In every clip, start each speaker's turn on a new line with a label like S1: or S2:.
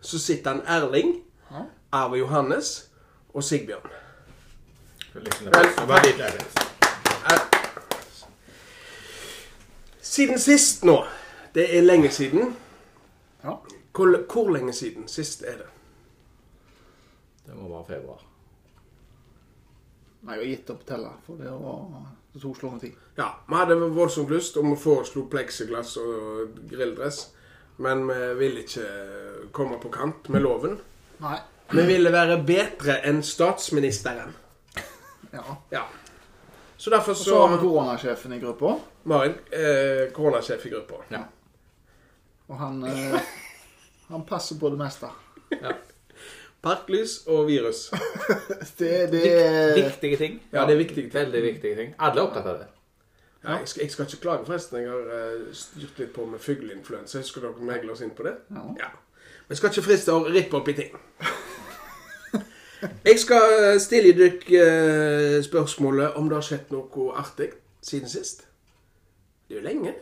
S1: så sitter han Erling,
S2: Ja.
S1: Arve Johannes og Sigbjørn.
S3: Litt nervøs. Jeg var litt nervøs.
S1: Siden sist nå. Det er lenge siden.
S2: Ja.
S1: Hvor, hvor lenge siden sist er det?
S3: Det må være februar.
S2: Nei, jeg har gitt opp å telle, for det, var, det tok så lang tid.
S1: Ja, vi hadde voldsomt lyst om å foreslå pleksiglass og grilldress, men vi ville ikke komme på kant med loven.
S2: Nei.
S1: Vi ville være bedre enn statsministeren.
S2: Ja.
S1: Ja. Så derfor
S2: Og
S1: så,
S2: så har vi koronasjefen i gruppa,
S1: Marit, eh, koronasjef i gruppa.
S3: Ja.
S2: og han, eh, han passer på det meste.
S1: Parklys og virus.
S2: Det, det er
S3: Viktige ting.
S1: Ja, det er viktige ting.
S3: Veldig viktige ting. Alle er opptatt av det.
S1: Ja, jeg, skal, jeg skal ikke klage, forresten. Jeg har eh, styrt litt på med fugleinfluensa. Husker dere megla oss inn på det?
S2: ja.
S1: Ja. Vi skal ikke friste å rippe opp i ting. Jeg skal eh, stille dere eh, spørsmålet om det har skjedd noe artig siden sist. Det er jo lenge.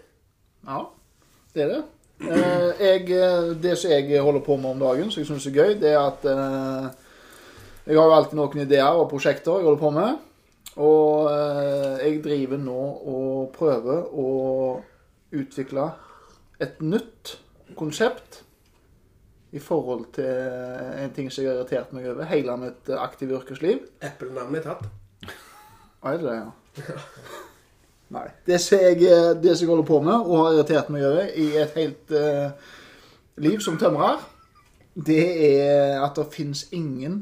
S2: ja. Det er det. Eh, jeg, eh, det som jeg holder på med om dagen, som jeg syns er gøy, det er at eh, Jeg har jo alltid noen ideer og prosjekter jeg holder på med. Og eh, jeg driver nå og prøver å utvikle et nytt konsept i forhold til en ting som jeg har irritert meg over hele mitt eh, aktive yrkesliv.
S1: Apple-navnet er tatt.
S2: Ja, er det det, ja? Nei. Det som jeg, det som jeg holder på med, og har irritert meg over i et helt eh, liv som tømrer, det er at det finnes ingen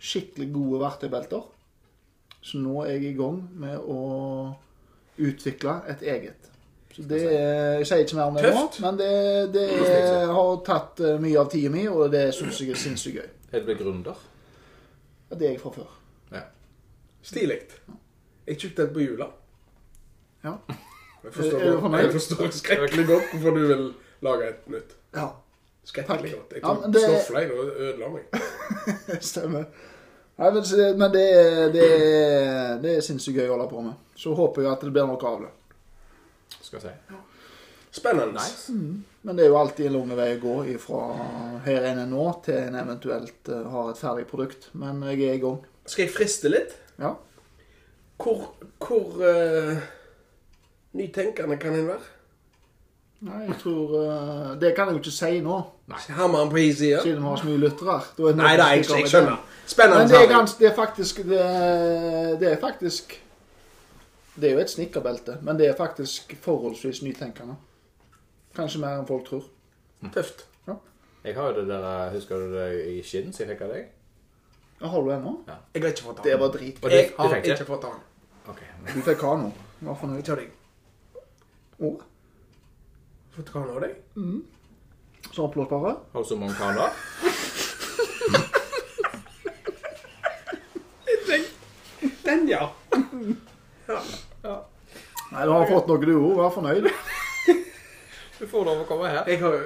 S2: skikkelig gode verktøybelter. Så nå er jeg i gang med å utvikle et eget. Så det er, Jeg sier ikke mer om det nå,
S1: Tøft.
S2: men det, det er, har tatt eh, mye av tida mi, og det syns jeg er sinnssykt gøy.
S3: Er du blitt gründer?
S2: Og Det er jeg fra før.
S3: Ja.
S1: Stilig. Jeg kjøpte et på jula.
S2: Ja.
S1: Jeg
S2: Er det for
S1: forstår,
S2: meg?
S1: jeg forstår skrekkelig godt hvorfor du vil lage et nytt.
S2: ja.
S1: Skrekkelig
S2: Takk.
S1: godt. Jeg
S2: Ja,
S1: tok
S2: men det-
S1: snofla i det og ødela meg.
S2: Stemmer. Nei, men så- men det, er- det, er- det er sinnssykt gøy å holde på med. Så håper jeg at det blir noe av det.
S3: Skal jeg si.
S1: Spennende.
S3: Nice.
S2: Men det er jo alltid en lang vei å gå fra her en er nå, til en eventuelt eh, har et ferdig produkt. Men jeg er i gang.
S1: Skal jeg friste litt?
S2: Ja.
S1: Hvor, hvor eh, nytenkende kan en være?
S2: Nei, jeg tror eh, Det kan jeg jo ikke si nå,
S1: Hammeren på hi side?
S2: siden vi har så mye lyttere. Da er det noen
S1: Nei, nei,
S2: som
S1: jeg,
S2: stikker av
S1: jeg
S2: med
S1: skjønner.
S2: den.
S1: Spennende.
S2: Men det er,
S1: Harry.
S2: gans, det er faktisk det, er- det er faktisk Det er jo et snekkerbelte, men det er faktisk forholdsvis nytenkende. Kanskje mer enn folk tror.
S1: Tøft.
S3: Jeg har jo det der eh, Husker du det i skinn som jeg fikk av deg?
S2: Ja, Har du en nå?
S1: Jeg har ikke fått
S2: Det
S1: den.
S2: var drit.
S3: Og du,
S1: Jeg
S3: du
S1: har
S3: fikk
S1: ikke
S3: det?
S1: fått den.
S3: Ok.
S2: Du fikk ha noe. Hva for noe?
S1: Ikke av deg.
S2: Å,
S1: Fått hva nå, deg?
S2: så oppblåsbare.
S3: Har du så mange kameraer?
S1: Den, ja.
S2: Nei, du har fått noe du òg. Vær fornøyd.
S3: Du får lov å komme her.
S1: Jeg har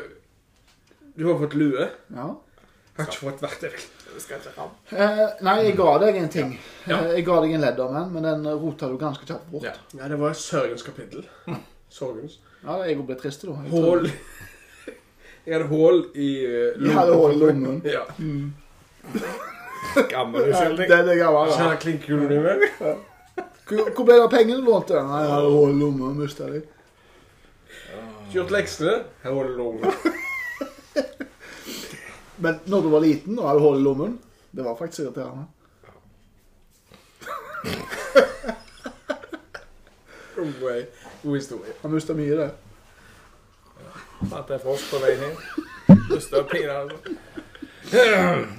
S1: Du har fått lue.
S2: Ja.
S1: Jeg har ikke fått verktøy.
S3: Du skal ikke fram.
S2: Eh, nei, jeg ga deg en ting.
S1: Ja.
S2: Eh, jeg ga deg en Leatherman, men den rota du ganske kjapt bort.
S3: Ja.
S2: Ja,
S1: Ja, det var sørgens kapittel. Sorgens.
S2: da, Jeg ble trist, da. Jeg tror-
S1: Hål Jeg hadde hål i eh,
S2: Jeg hadde hål i lommen.
S1: Ja.
S3: Gammel
S2: Ja,
S3: uskyldig.
S2: det er det jeg var,
S1: Så
S2: ja.
S1: hadde jeg klinkekulen i meg.
S2: Hvor hvor ble det av pengene du lånte? Nei, jeg hadde hål i lommen. Mista de.
S1: Gjort leksene. Her var det lommen.
S2: Men når du var liten og hadde hål i lommen Det var faktisk irriterende.
S1: God vei. God historie.
S2: Han mista mye, det.
S3: At det er frosk på veien inn. Lyst til å pine, altså.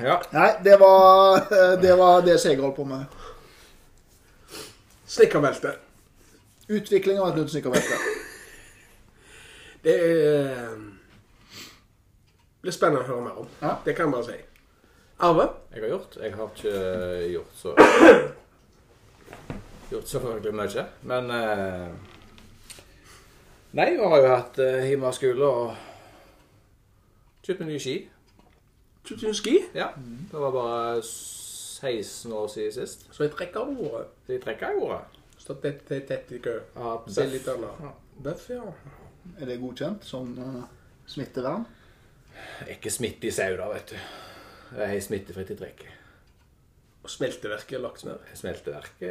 S3: Ja.
S2: Nei, det var eh, det, var det som jeg holdt på med.
S1: Snekkerbelte.
S2: Utvikling av et nytt snekkerbelte.
S1: Det er eh, blir spennende å høre mer om.
S2: Ja.
S1: Det kan jeg bare si. Arve?
S3: jeg har gjort. Jeg har ikke eh, gjort så Gjort så forferdelig mye. Men eh, Nei, vi har jo hatt eh, hjemmeskole og kjøpt meg nye ski.
S1: Kjøpte du ski?
S3: Ja.
S1: Mm.
S3: Det var bare 16 år siden sist.
S1: Så jeg trekker av ordet.
S3: Så jeg trekker jeg ordet.
S1: Står tett, tett, tett i kø.
S3: Ja,
S1: Se litt annet. Bøff, ja.
S2: Er det godkjent som eh, smittevern?
S3: Er Ikke smitte i sauda, vet du. Det er smittefritt i trekket.
S1: Og smelteverket er lagt ned.
S3: Smelteverket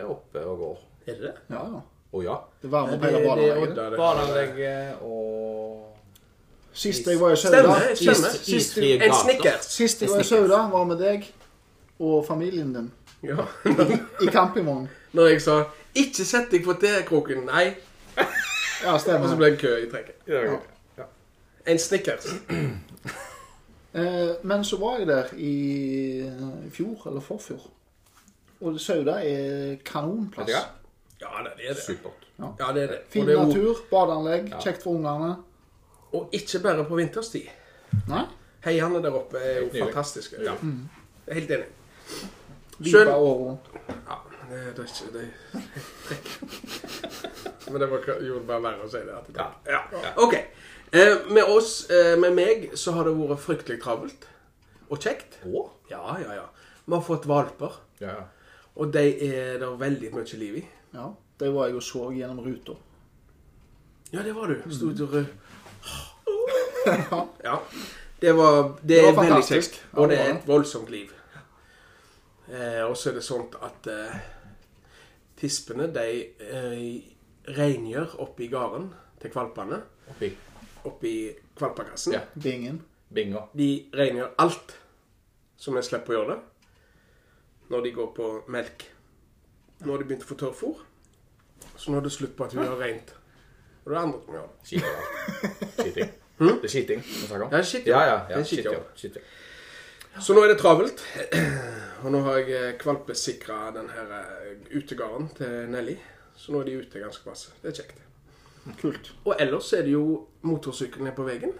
S3: er oppe og går.
S1: Er det det?
S2: Ja, ja.
S3: Å ja.
S2: Det varmer opp
S1: Det- det er
S2: hele badeanlegget.
S1: Odda, det.
S3: Badeanlegget og
S2: Sist jeg var i Sauda,
S1: Stemmer, jeg stemmer.
S3: Is-
S1: Sist,
S3: isfrie
S1: en
S3: gater.
S1: snickers.
S2: sist jeg var i Sauda, var med deg og familien din
S1: Ja.
S2: i campingvogn.
S1: Når jeg sa 'ikke sett deg på T-kroken', nei,
S2: Ja,
S1: og så
S2: stemmer.
S1: ble det kø i trekket.
S3: Ja.
S1: En snickers.
S2: Eh, Men så var jeg der i eh, fjor, eller forfjor. Og Sauda er
S3: Vet du hva?
S2: kanonplass.
S1: Ja, det er det.
S3: Supert.
S1: Ja, det er det. Og,
S2: Fin
S1: det er jo,
S2: natur, badeanlegg,
S3: Ja.
S2: kjekt for ungene.
S1: og ikke bare på vinterstid.
S2: Nei?
S1: Heiene der oppe er jo
S3: Helt nydelig.
S1: fantastiske.
S3: Ja.
S1: Jeg er Helt enig. Selv-
S2: Livet året rundt.
S1: Ja, det, det er ikke det. er trekk. Men det var, gjorde det bare verre å si det. At det er trekk. ja. OK. Eh, med oss, eh, med meg, så har det vært fryktelig travelt. Og kjekt.
S3: Å?
S1: Ja, ja, ja. Vi har fått valper,
S3: Ja, ja.
S1: og de er det veldig mye liv i.
S2: Ja, det var jeg og så gjennom ruta.
S1: Ja, det var du. Sto ut og rød. Ja. Det var, det
S2: var
S1: er veldig
S2: fantastisk.
S1: kjekt,
S2: Ja,
S1: og
S2: det
S1: det
S2: var
S1: er
S2: det.
S1: et voldsomt liv. Eh, og så er det sånt at eh, tispene, de eh, rengjør oppi garden til kvalpene.
S3: Oppi
S1: Oppi kvalpekassen.
S3: Ja.
S2: Bingen.
S3: binga.
S1: De rengjør alt som jeg slipper å gjøre det, når de går på melk. Nå har de begynt å få tørrfôr, så nå er det slutt på at vi gjør rent. Og det er andre som gjør det.
S3: Skiting. Skiting. Det er skiting vi snakker om.
S1: Det er skiting.
S3: Ja, ja.
S1: Det
S3: ja.
S1: er skiting.
S3: Skiting. Skiting.
S1: Så nå er det travelt. Og nå har jeg eh, kvalpesikra den her eh, utegarden til Nelly. Så nå er de ute ganske masse. Det er kjekt.
S2: Kult.
S1: Og ellers er det jo motorsykkelen er på veien.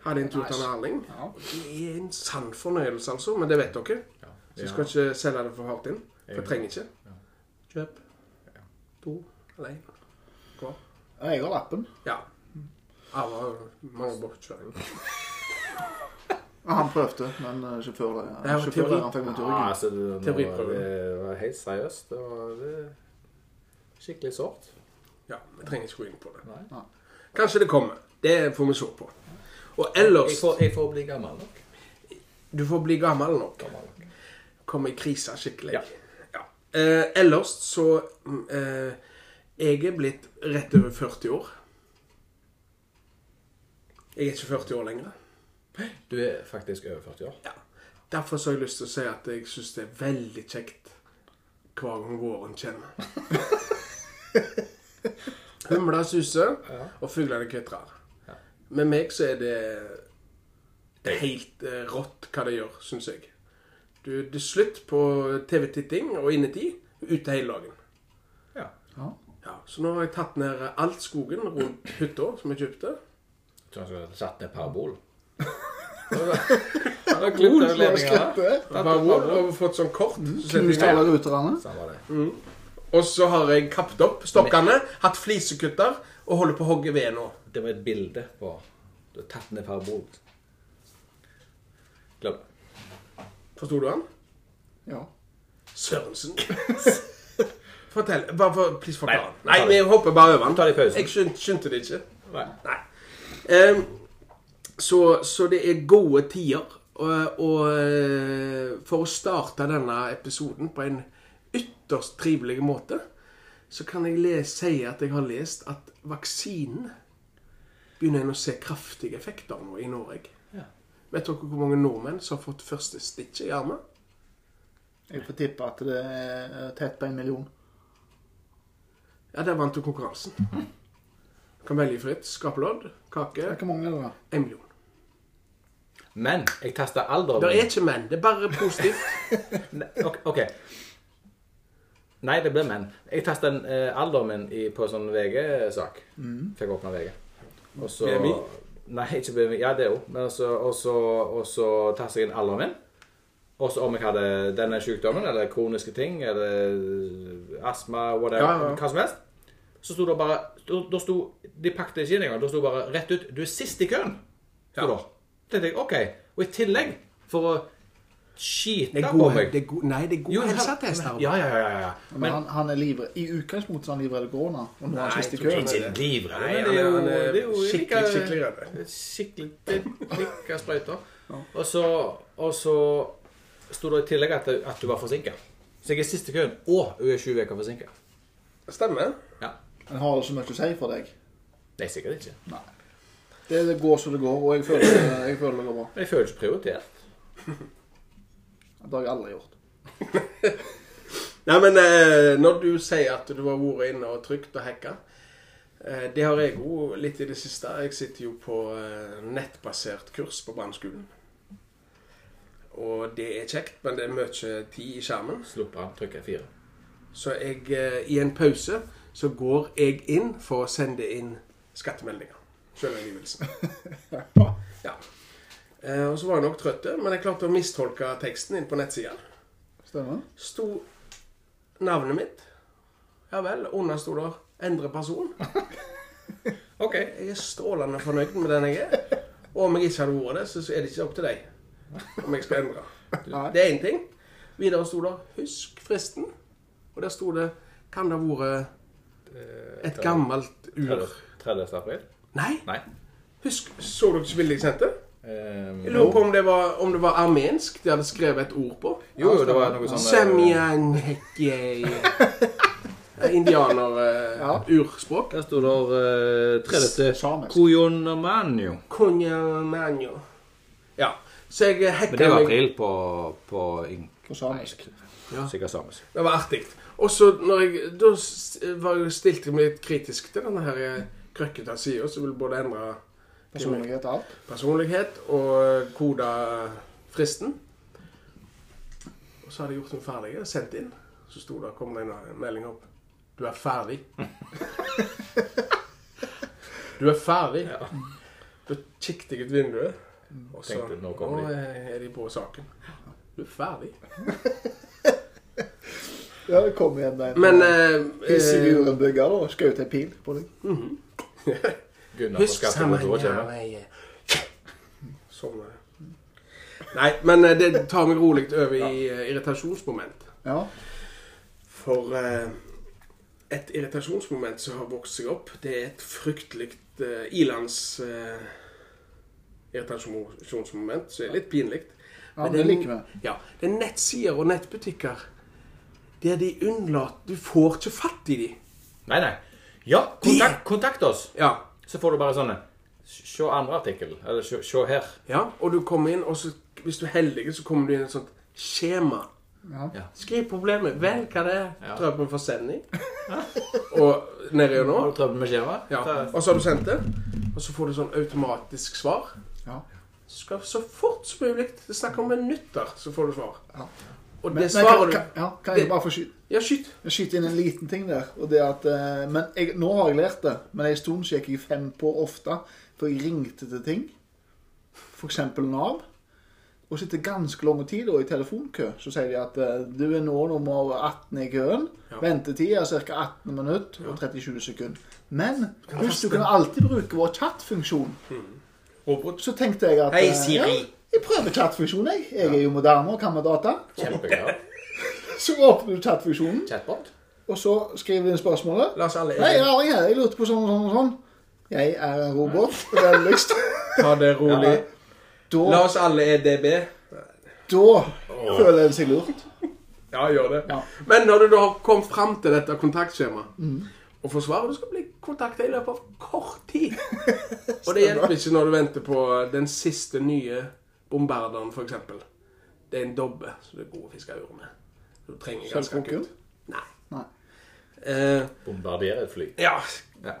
S1: Hadde en tur til Erling.
S2: Ja.
S1: Det er en sann fornøyelse, altså. Men det vet dere.
S3: Ja.
S1: Så jeg skal ikke selge det for hardt inn. For jeg trenger ikke. Kjøp to eller én. Hva?
S2: Ja, Jeg har lappen.
S1: Ja. Arva mange bortkjøringer.
S2: Ja, Han prøvde, men eh, ikke før det.
S1: Det er jo teori.
S2: Sjåføren fikk vondt i
S3: Ja,
S2: ryggen.
S3: altså, det, nå,
S1: Teoriprøve.
S3: det var helt seriøst. Det var det, skikkelig sårt.
S1: Ja, jeg trenger ikke gå inn på det.
S3: Nei.
S1: Kanskje det kommer. Det får vi se på. Og
S3: Jeg
S1: ellers
S3: får, jeg får bli gammel nok.
S1: Du får bli gammel nok.
S3: Gammel nok.
S1: Komme i krisa skikkelig.
S3: Ja.
S1: Ja. Eh, ellers så mm, eh, Jeg er blitt rett over 40 år. Jeg er ikke 40 år lenger.
S3: Du er faktisk over 40 år.
S1: Ja. Derfor så har jeg lyst til å si at jeg syns det er veldig kjekt hver gang våren kommer. Humla suser, og fuglene kvitrer. Med meg så er det det er helt eh, rått hva det gjør, syns jeg. Du, det er slutt på TV-titting og innetid. Ute hele dagen.
S3: Ja.
S2: Ja.
S1: Ja, så nå har jeg tatt ned alt skogen rundt hytta som jeg kjøpte.
S3: Jeg tror han skulle ha satt ned parabol. Han har klippet av ledningene.
S2: Knust
S1: Bare ro, og fått sånn kort. så setter jeg ned.
S2: alle ruterne.
S3: Sånn var det.
S1: Og så har jeg kappet opp stokkene, hatt flisekutter og holder på å hogge ved nå.
S3: Det var et bilde på Du har tatt ned parabol. Glem det.
S1: Forsto du han?
S2: Ja.
S1: Sørensen. Fortell. Bare for, please forklar han.
S3: Nei,
S1: Nei, vi hopper bare over han.
S3: Ta det i pausen.
S1: Jeg skyn- skyndte det ikke.
S3: Nei.
S1: Nei. Ehm, så, så det er gode tider. Og, og eh, for å starte denne episoden på en ytterst trivelig måte, så kan jeg le- si at jeg har lest at vaksinen begynner en å se kraftige effekter nå i Norge.
S3: Ja.
S1: Vet dere hvor mange nordmenn som har fått første stitchet i armen?
S2: Jeg får tippe at det er eh, tett på en million.
S1: Ja, der vant du konkurransen. Du kan velge fritt. Skrapelodd, kake,
S2: Hvor mange er det da?
S1: en million.
S3: Men jeg tasta alderen.
S1: Det er ikke menn. Det er bare positivt.
S3: Nei, ok- OK. Nei, det ble menn. Jeg tasta
S1: Mm.
S3: eh, alderen min i, på sånn VG-sak. Fikk åpna VG. Og så
S1: BMI?
S3: Nei, ikke bli Ja, det òg. Men også, også, også ta seg en alder min. Også om jeg hadde denne sykdommen, eller kroniske ting, eller eh, astma, whatever,
S1: Ja, ja.
S3: hva som helst. Så sto det bare da- Da sto De pakket ikke inn engang. Da sto det bare rett ut 'Du er sist i køen'. Så
S1: Ja.
S3: da tenkte jeg OK. Og i tillegg, for å skite
S1: Det er
S3: på
S1: god,
S3: meg
S1: det er god, nei, det er god
S3: men-
S1: helseattest. Arve.
S3: Ja, ja, ja. ja, ja.
S2: Men, han, han er livredd. I utgangspunktet er han livredd korona. Og nå er han
S1: Nei,
S2: sist i
S1: jeg tror
S2: køen.
S1: ikke
S3: Ikke livredd,
S1: Nei, han
S3: men det er
S1: er-
S3: jo-
S1: han er
S3: det er jo
S1: skikkelig,
S3: like-
S1: skikkelig redd.
S3: Skikkelig dikka sprøyter. Og så, og så sto det i tillegg at, at du var forsinka. Så jeg er siste køen, og hun er sju uker forsinka.
S1: Stemmer.
S3: Ja.
S2: Han har så mye å si for deg.
S3: Nei, sikkert ikke.
S2: Det, det går som det går, og jeg føler, jeg føler det går bra.
S3: Men jeg føler ikke prioritert.
S2: Det har jeg aldri gjort.
S1: Nei, men eh, når du sier at du har vært inne og trykt og hacka eh, Det har jeg òg litt i det siste. Jeg sitter jo på eh, nettbasert kurs på brannskolen. Og det er kjekt, men det er mye tid i skjermen.
S3: Slipper han trykke fire.
S1: Så jeg, eh, i en pause så går jeg inn for å sende inn skattemeldinger. Selvangivelsen. Ja. Eh, og så var jeg nok trøtt, men jeg klarte å mistolke teksten inn på nettsida.
S2: Stemmer?
S1: sto navnet mitt. Ja vel. Under sto der 'endre person'.
S3: OK.
S1: Jeg er strålende fornøyd med den jeg er. Og om jeg ikke hadde vært det, så så er det ikke opp til deg om jeg skal endre.
S2: Nei.
S1: Det er én ting. Videre sto der 'husk fristen'. Og der sto det 'kan det ha vært et gammelt ur'?
S3: 30. april?
S1: Nei.
S3: Nei.
S1: Husk, Så dere ikke bildet jeg sendte?
S3: Ehm,
S1: Jeg lurer på om det var, om det var armensk de hadde skrevet et ord på.
S3: jo, jo, det var noe sånn
S1: Semjanhekje Eh,
S2: Ja.
S1: Indianer-urspråk.
S3: Der sto det eh, 30.
S2: Samisk.
S3: Kujonamanio.
S1: Konjamanjo. Ja. Så jeg
S3: Men
S1: hekka
S3: det var
S1: meg
S3: april på, på ink.
S2: På samisk.
S1: Ja.
S3: Sikkert samisk.
S1: Det var artig. Og så når jeg Da s- var jeg stilte jeg meg litt kritisk til denne her eh, krøkkete sida, som vil både endre
S2: Personlighet og alt.
S1: personlighet og kode fristen. Og så hadde jeg gjort den ferdig, jeg hadde sendt inn. Så sto det, kom det en melding opp. Du er ferdig. Du er ferdig. Da kikket jeg ut vinduet, og så
S3: Tenkte, nå
S1: nå
S3: kommer de.
S1: er de på saken. Du er ferdig.
S2: Ja, det kom igjen med en
S1: Men eh, eh,
S2: Figuren bygger, da. Skjøt ei pil på deg.
S3: Gunnar
S1: Husk
S3: på skattekontoret
S1: sammenhengen
S3: kommer.
S1: av ei eh. Sånn er det. Nei, men eh, det tar meg rolig over i eh, irritasjonsmoment.
S2: Ja.
S1: For eh, et irritasjonsmoment som har vokst seg opp, det er et fryktelig eh, ilands eh, irritasjonsmoment, som er litt pinlig.
S2: Ja, men det liker vi.
S1: Ja, det er nettsider og nettbutikker der de unnlater Du får ikke fatt i de.
S3: Nei, nei. Ja, kontakt, kontakt oss!
S1: Ja.
S3: Så får du bare sånne Se andre artikkel. Eller se, se her.
S1: ja. Og du kommer inn, og så, hvis du er heldig, så kommer du inn i et sånt skjema.
S2: Ja.
S1: Skriv problemet. Vel, hva det er.
S3: Ja.
S1: Tror jeg på en forsending. og nedi og nå.
S3: Har du trøbbel med skjema?
S1: Ja,
S3: Ta-
S1: og så har du sendt det, og så får du sånn automatisk svar.
S2: Ja.
S1: Så skal så fort som mulig Det er snakk om minutter, så får du svar.
S2: Ja.
S1: Og
S2: Men,
S1: det
S2: men,
S1: svarer
S2: kan,
S1: du.
S2: kan, ja, kan jeg bare få skyte?
S1: Ja, skyt.
S2: Jeg skyter inn en liten ting der. og det er at, eh, men jeg, Nå har jeg lært det, men en stund så gikk jeg fem på ofte. For jeg ringte til ting, f.eks. Nav. Og så etter ganske lang tid da, i telefonkø så sier de at eh, du er nå nummer 18 i køen.
S1: Ja.
S2: Ventetid er ca. 18 minutter og 37 sekunder. Men
S1: du
S2: hvis du kan alltid bruke vår chatfunksjon,
S1: Robot.
S2: så tenkte jeg at
S1: Hmm. Hei,
S2: eh,
S1: Siri.
S2: Ja, jeg prøver chatfunksjonen, jeg. Jeg er jo moderne og kan med data.
S3: Kjempegøy.
S2: Så åpner du chatfunksjonen,
S3: Chatbot?
S2: og så skriver du inn spørsmålet.
S1: La oss alle
S2: Nei, ja, jeg, jeg lurte på sånn og sånn og sånn. Jeg er en robot. Vennligst.
S1: ta det rolig. La
S2: Da,
S1: oss alle E EDB.
S2: da føler en seg lurt.
S1: Ja, gjør det.
S2: Ja.
S1: Men når du da kom fram til dette kontaktskjemaet og får svar, du skal bli kontakta i løpet av kort tid. og det hjelper ikke når du venter på eh, den siste nye bombarderen, f.eks. Det er en dobbe, så det er god å fiske øre med. Du trenger ganske
S2: Sølvkoken?
S1: akutt. Nei.
S2: Nei.
S1: Eh,
S3: Bombardere et fly.
S1: ja.
S3: Ja.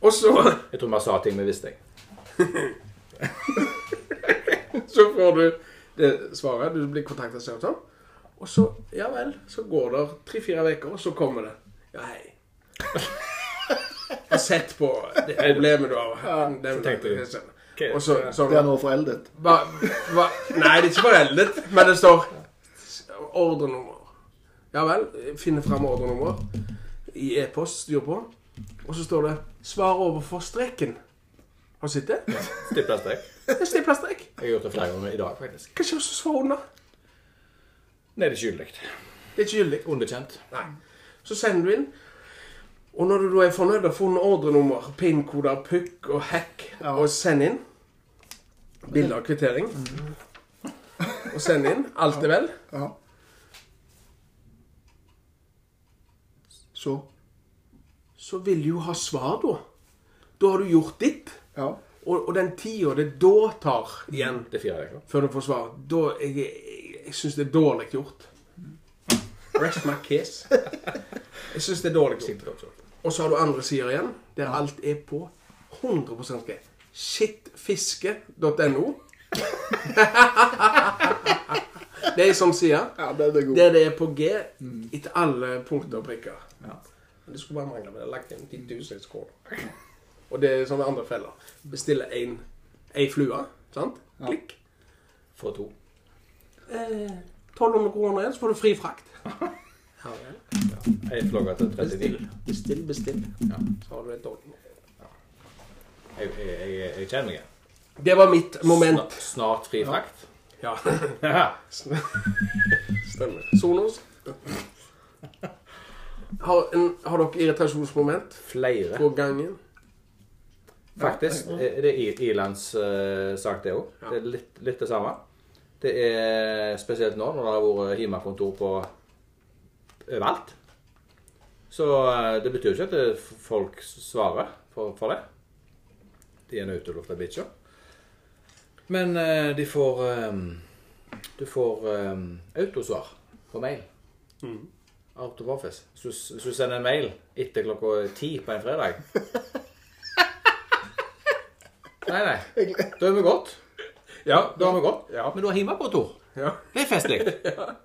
S1: Og så,
S3: Jeg tror vi sa ting vi visste. jeg.
S1: så får du det svaret. Du blir kontakta av Sauton. Og så, ja vel, så går det tre-fire uker, og så kommer det. Ja, hei. Jeg har sett på det problemet du har. Den-
S3: tenkte jeg.
S1: den- Og så, så
S2: Det er nå foreldet.
S1: hva, hva, Nei, det er ikke foreldet, men det står ordrenummer. Ja vel. Finne fram ordrenummer i e-post, styr på. Og så står det 'svar overfor streken'. Har du sett det? Det
S3: Stipla strek.
S1: er stipla strek.
S3: Jeg har gjort det flere ganger i dag, faktisk.
S1: Kanskje også svar under.
S3: Nei, det er ikke gyldig.
S1: Det er ikke gyldig.
S3: Underkjent.
S1: Nei. Så sender du inn. Og når du da er fornøyd og har funnet ordrenummer, PIN-koder, pukk og hack,
S2: Ja.
S1: og send inn Bilde av kvittering. Og send inn. Alt er vel.
S2: Ja. Så.
S1: Så vil du jo ha svar, da. Da har du gjort ditt.
S2: Ja.
S1: Og, og den tida det da tar igjen
S3: Det er fire uker.
S1: før du får svar, da Jeg, jeg, jeg syns det er dårlig gjort. Rest my case. Jeg syns det er dårlig gjort.
S3: Sikkert også.
S1: Og så har du andre sider igjen, der alt er på 100 greit. Shitfiske.no. det er som sier.
S2: ja den er god.
S1: Der det er på G etter alle punkter og prikker.
S3: Mm. Ja.
S1: Men Det skulle bare mangle. Vi hadde lagt inn 10 000 kroner. Og det er sånne andre feller. Bestille en, en flue. Sant? Klikk.
S3: For to.
S1: Eh, 1200 kroner igjen, så får du fri frakt. Ja, vel.
S3: Jeg flagger til 39.
S1: Bestill, bestill. bestill.
S3: Ja.
S1: Så har du et ordentlig.
S3: Jeg, jeg, jeg, jeg kjenner meg igjen.
S1: Det var mitt moment.
S3: Snart, snart fri frakt.
S1: Ja.
S3: Ja.
S1: Stemmer. Sonos. Har, en, har dere irritasjonsmoment
S3: Flere.
S1: på gangen?
S3: Faktisk er det er Irlands eh, sak, det òg. Det er litt, litt det samme. Det er spesielt nå, når det har vært hjemmekontor på overalt. Så eh, det betyr jo ikke at det- folk svarer for, for det. De er nautelufta bitcher. Men eh, de får eh, Du får eh, autosvar på mail. Out of office. Så Hvis du sender en mail etter klokka ti på en fredag Nei, nei. Da er vi godt.
S1: Ja.
S3: Da er vi godt.
S1: Ja.
S3: Men du har hjemmekontor.
S1: ja.
S3: Det er festlig.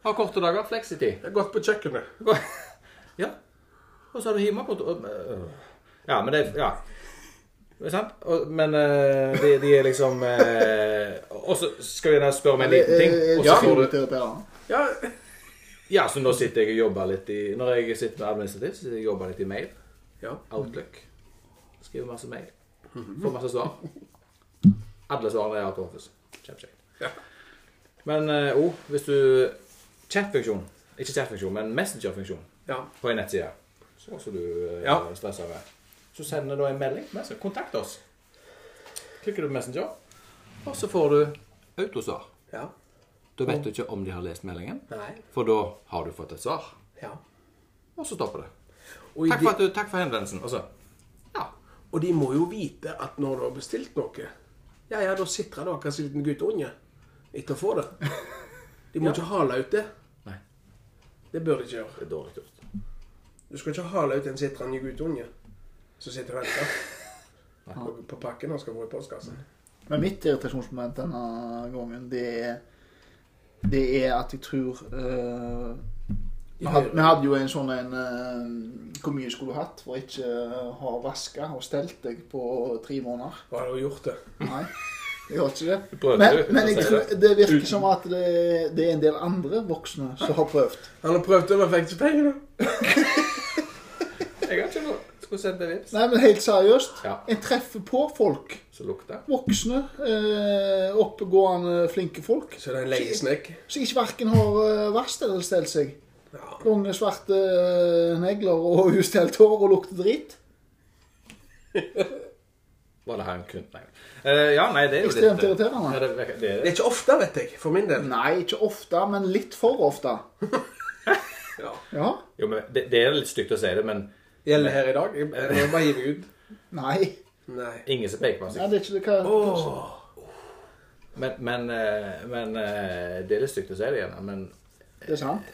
S3: Har korte dager, fleksitid.
S1: Jeg har gått på kjøkkenet.
S3: Ja. Og så har du hjemmekontor. Øh. Ja, men det er Ja. Det er sant? Og, men øh, de, de er liksom øh, Og så skal jeg da spørre om en liten ting. Og så får du
S1: Ja.
S3: Ja, så nå sitter jeg og jobber litt i Når jeg sitter med administrativt, så sitter jeg og jobber litt i mail.
S1: ja. Mhm.
S3: Outlook. Skriver masse mail. Får masse svar. Alle svarene er out of office. Kjempekjekt.
S1: Ja.
S3: Men eh, oh, hvis du Chatfunksjon. Ikke chatfunksjon, men messengerfunksjon
S1: ja.
S3: på en nettside. Så også du eh,
S1: Ja.
S3: stresser med. Så sender du en melding. Messenger. Kontakt oss. Klikker du på Messenger, og så får du autosvar.
S1: ja.
S3: Da vet du ikke om de har lest meldingen,
S1: Nei.
S3: for da har du fått et svar.
S1: Ja.
S3: Og så stopper det.
S1: Og
S3: Takk
S1: de,
S3: for, at du, takk for henvendelsen. Og så Ja.
S1: og de må jo vite at når du har bestilt noe Ja, ja, da sitrer det akkurat som en liten guttunge etter å få det. De må ikke hale ut det.
S3: Nei.
S1: Det bør de ikke gjøre.
S3: Det er dårlig gjort.
S1: Du skal ikke hale ut en sitrende guttunge som sitter og venter på, på pakken han skal få i postkassen.
S2: Men mitt irritasjonsmoment denne gangen, det er, det er at jeg tror eh, vi, hadde, vi hadde jo en sånn en eh, Hvor mye skulle du hatt for ikke eh, ha vaska og stelt deg på tre måneder?
S1: Og har jo gjort det.
S2: Nei, jeg har ikke det.
S3: Du prøvde
S2: Men,
S3: jo uten å
S2: men
S3: si
S2: jeg tror, det virker som at det, det er en del andre voksne som har prøvd.
S1: Han har prøvd det, men fikk ikke pengene.
S3: Jeg har ikke noe. Skulle sendt en vips.
S2: Nei, men helt seriøst.
S3: Ja.
S2: En treffer på folk.
S3: Så lukta.
S2: Voksne, eh, oppegående, flinke folk.
S1: Så det er en leiesnekk.
S2: Som ikke hverken har eh, vasket eller stelt seg.
S1: Ja.
S2: Lange, svarte eh, negler og ustelt hår og lukter dritt.
S3: Var det her en kun... Nei. Eh, ja, nei, det er jo litt
S2: Ekstremt
S3: eh,
S2: irriterende.
S3: Ja, det, det, det,
S1: Det er ikke ofte, vet jeg, for min del.
S2: Nei, ikke ofte, men litt for ofte.
S1: Ja.
S2: Ja?
S3: jo, men det, det er litt stygt å si det, men
S1: Gjelder her i dag. Jeg jeg må bare hive ut.
S2: Nei.
S1: Nei.
S3: ingen som peker på
S2: Ja,
S3: seg.
S2: det er ikke det hva
S1: Åh.
S3: Men, men, eh, men eh, det er litt stygt å si det igjen, men
S2: Det er sant.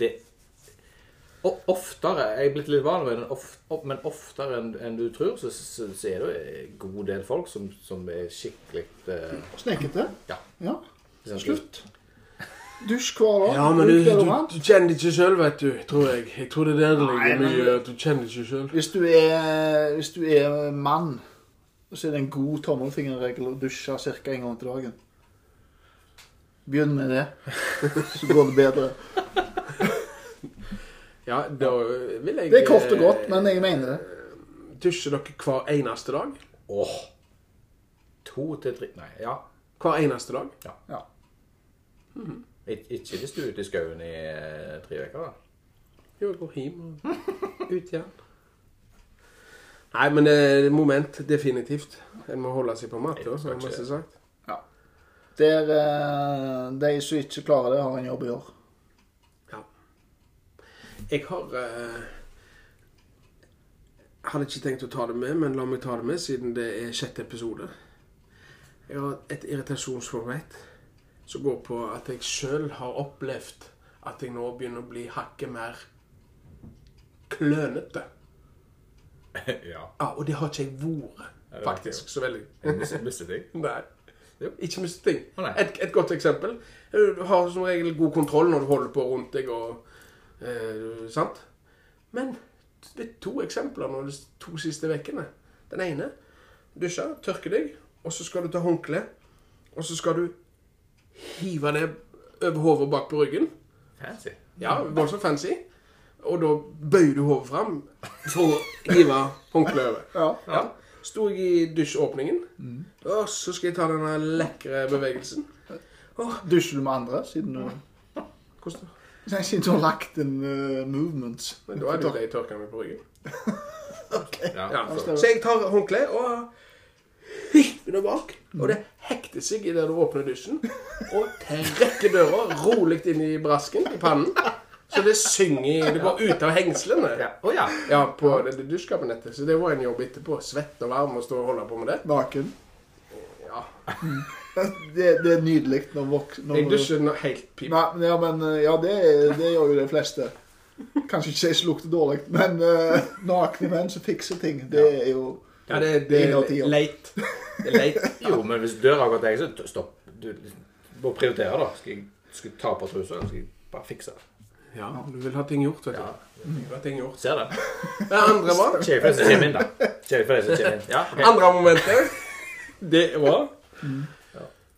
S3: det o- Oftere Jeg er blitt litt vanlig med det, men of- of- men oftere enn enn du tror, så, så, så er det jo en god del folk som, som er skikkelig eh,
S2: Snekkete.
S3: Ja.
S2: Ja.
S3: liksom-
S2: Slutt. Dusj hver dag.
S1: Ja, men du,
S2: Bruk
S1: du,
S2: deodorant.
S1: du kjenner det ikke sjøl, vet du. Tror jeg. Jeg tror det er der det
S2: Nei,
S1: ligger
S2: men-
S1: mye. At du kjenner det ikke sjøl.
S2: Hvis du er, hvis du er mann, så er det en god tommelfingerregel å dusje ca. en gang til dagen. Begynn med det, så går det bedre.
S1: Ja, da vil jeg
S2: Det er kort og godt, men jeg mener det.
S1: Dusjer dere hver eneste dag?
S3: Åh. To til tre Nei, ja.
S1: Hver eneste dag?
S2: Ja.
S3: Ik ikke hvis du er ute i skauen i eh, tre uker, da.
S1: Jo, jeg går hjem og ut igjen. Nei, men eh, moment, definitivt. En må holde seg på matta,
S3: Nei,
S1: som jeg
S3: kanskje.
S1: masse sagt.
S2: Der, eh, de som ikke klarer det, har en jobb å gjøre.
S1: Jeg har eh, Hadde ikke tenkt å ta det med, men la meg ta det med siden det er sjette episode. Jeg har et irritasjonsformat som går på at jeg sjøl har opplevd at jeg nå begynner å bli hakket mer klønete.
S3: ja.
S1: Ja, og det har ikke jeg vært,
S3: det har ikke
S1: faktisk, så veldig.
S3: Jeg mis- mistet deg.
S1: Nei.
S3: Jo.
S1: Ikke miste ting.
S3: Å, nei.
S1: Et, et godt eksempel. Du har som regel god kontroll når du holder på rundt deg og eh, Sant? Men det er to eksempler nå de to siste ukene. Den ene dusja, tørke deg, og så skal du ta håndkle, og så skal du hive det over hodet og bak på ryggen.
S3: Fancy.
S1: Ja, voldsomt fancy. Og da bøyer du hodet fram for å hive håndkleet over.
S2: Ja.
S1: Ja. Sto jeg i dusjåpningen,
S3: Mm.
S1: og så skal jeg ta denne lekre bevegelsen.
S2: Dusjer du med andre, siden du,
S1: Hvordan da?
S2: nei, siden du har lagt en eh, movement?
S1: Men da er det jo det jeg tørker meg på ryggen.
S3: Ja.
S1: Ja.
S3: så-
S1: Så jeg tar håndkleet og hiver det bak. Og det hekter seg idet du åpner dusjen. Og trekker døra rolig inn i brasken i pannen. Så det synger i Det går ut av hengslene.
S3: ja. Å ja.
S1: Ja, på det dusjkabinettet. Så det var en jobb etterpå. Svett og varm og stå og holde på med det.
S2: Naken.
S1: Ja.
S2: Det, det er nydelig når vok... Når
S1: Jeg dusjer nå helt pip.
S2: Nei, men- ja, men eh, ja, det, det gjør jo de fleste. Kanskje ikke de som lukter dårlig, men eh, nakne menn som fikser ting, det er jo
S1: Ja, det, det
S2: Ingen av ti, ja.
S1: er leit. Det er leit.
S3: Jo, men hvis døra har gått deg, så t- stopp. Du må prioritere, da. Skal jeg, skal jeg ta på trusa, eller skal jeg bare fikse det?
S1: Ja, du vil ha ting gjort, vet du.
S3: Ja.
S1: Du vil ha ting gjort.
S3: Ser det.
S1: Det andre var
S3: Kjedelig for de som kommer inn, da. Kjedelig for de som kommer inn. Ja, ok.
S1: Andre momentet Det var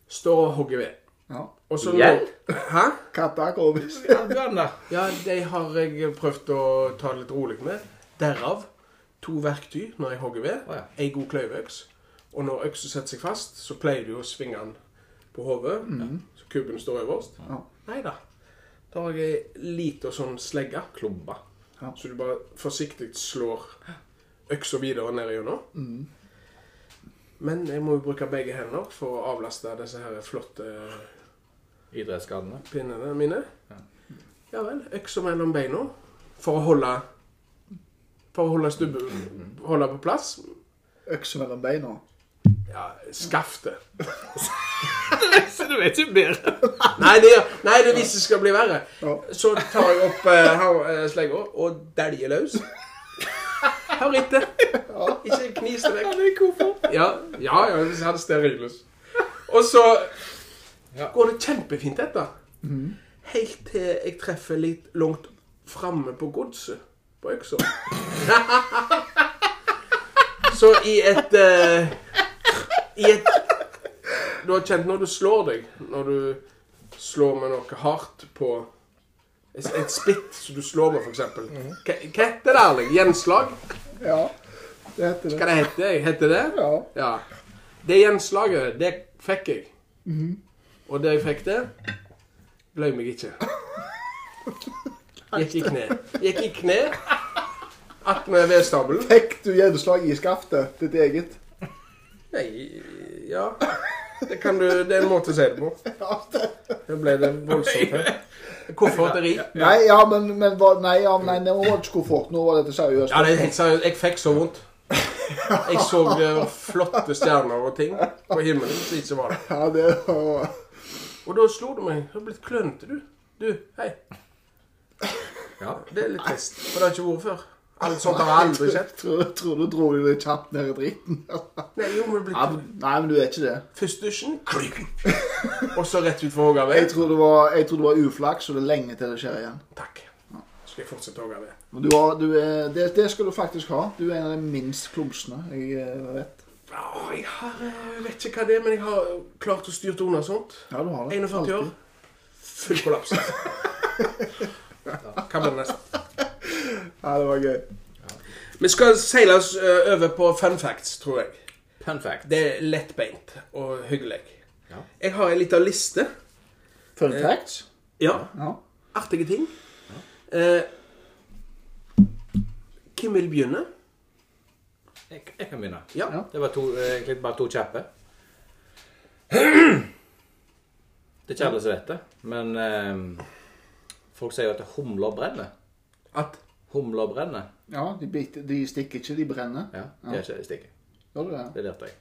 S1: Står og hogger ved.
S2: ja,
S1: Og så
S3: Igjen?
S1: nå- Hæ?
S2: katter går visst.
S3: Ja, du er den der.
S1: Ja, de har jeg prøvd å ta det litt rolig med. Derav to verktøy når jeg hogger ved.
S3: Å, ja.
S1: Ei god kløyveøks. Og når øksa setter seg fast, så pleier du å svinge den på hodet. Så kubben står øverst.
S2: Ja.
S1: Nei da. Da har jeg ei lita sånn slegge.
S3: Klumba.
S1: Så du bare forsiktig slår øksa videre ned gjennom. Men jeg må jo bruke begge hender for å avlaste disse her flotte
S3: Idrettsskadene.
S1: pinnene mine. Ja vel. Øksa mellom beina for å holde For å holde stubbe Holde på plass.
S2: Økse mellom beina.
S1: Ja, skaftet.
S3: Så du vet ikke bedre.
S1: Nei, det, nei, det hvis det skal bli verre.
S2: Ja.
S1: Så tar jeg opp eh, her, eh, slegga og dæljer løs. Hør etter. Ikke knis det vekk. Ja, ja, ja hvis jeg hadde stearinlys. Og så
S3: Ja.
S1: går det kjempefint etter. Helt til jeg treffer litt langt framme på godset på øksa. så i et eh, I et Du har kjent når du slår deg, når du slår med noe hardt på et et spytt som du slår med, f.eks. Hva hva heter det, Erling? Gjenslag?
S2: Ja, det heter
S1: Hva
S2: det.
S1: det heter det? Heter det?
S2: Ja.
S1: Ja. Det gjenslaget, det fikk jeg. Og det jeg fikk det, løy meg ikke. Gikk i kne. Gikk i kne attmed vedstabelen.
S2: Fikk du gjenslag i skaftet, ditt eget?
S1: Nei, ja det, kan du, det er en måte å si det på. Det ble det voldsomt her. Komforteri.
S2: Nei, ja, men, men hva- Nei, ja, nei, det var ikke skuffert. Nå var dette seriøst.
S1: Ja, det er helt seriøst. Jeg fikk så vondt. Jeg så eh, flotte stjerner og ting på himmelen som ikke var der.
S2: Ja, det var
S1: Og da slo det meg. Du har blitt klønete, du. Du, hei.
S3: Ja.
S1: Det er litt trist. For det har ikke vært før. Alt sånt har jeg aldri sett.
S2: Tror, tror du dro deg litt kjapt ned i dritten.
S1: Nei, jo, men det
S2: Ja,
S1: blir
S2: men- Nei, men du er ikke det.
S1: Først dusjen, klink. og så rett ut for Håga
S2: Jeg
S1: ved.
S2: tror det var, jeg tror det var uflaks, og det er lenge til det skjer igjen.
S1: Takk. Så skal jeg fortsette Håga ved.
S2: Men du har, du er, det, det skal du faktisk ha. Du er en av de minst klumsene jeg eh, vet.
S1: Åh, jeg har eh, Jeg vet ikke hva det er, men jeg har eh, klart å styre unna sånt.
S2: Ja, du har det.
S1: 41 år.
S2: Alltid.
S1: Full kollaps. Hva blir det neste?
S2: Ja, det var gøy.
S1: Vi skal seile oss eh, over på fun facts, tror jeg.
S3: Fun fact.
S1: Det er lettbeint og hyggelig.
S3: Ja.
S1: Jeg har en liten liste.
S2: Fun
S1: Eh.
S2: facts.
S1: Ja,
S2: Ja.
S1: artige ting. Eh, hvem vil begynne?
S3: Jeg, jeg kan begynne.
S1: Ja.
S2: Ja.
S3: Det var to, eh, egentlig bare to kjappe. Det er ikke alle som vet det, men eh, folk sier jo at humler brenner.
S1: At
S3: Humler brenner.
S2: ja de, biter, de stikker ikke, de brenner.
S3: Ja, det er ikke det stikket.
S2: Gjør du det?
S3: Det lærte jeg.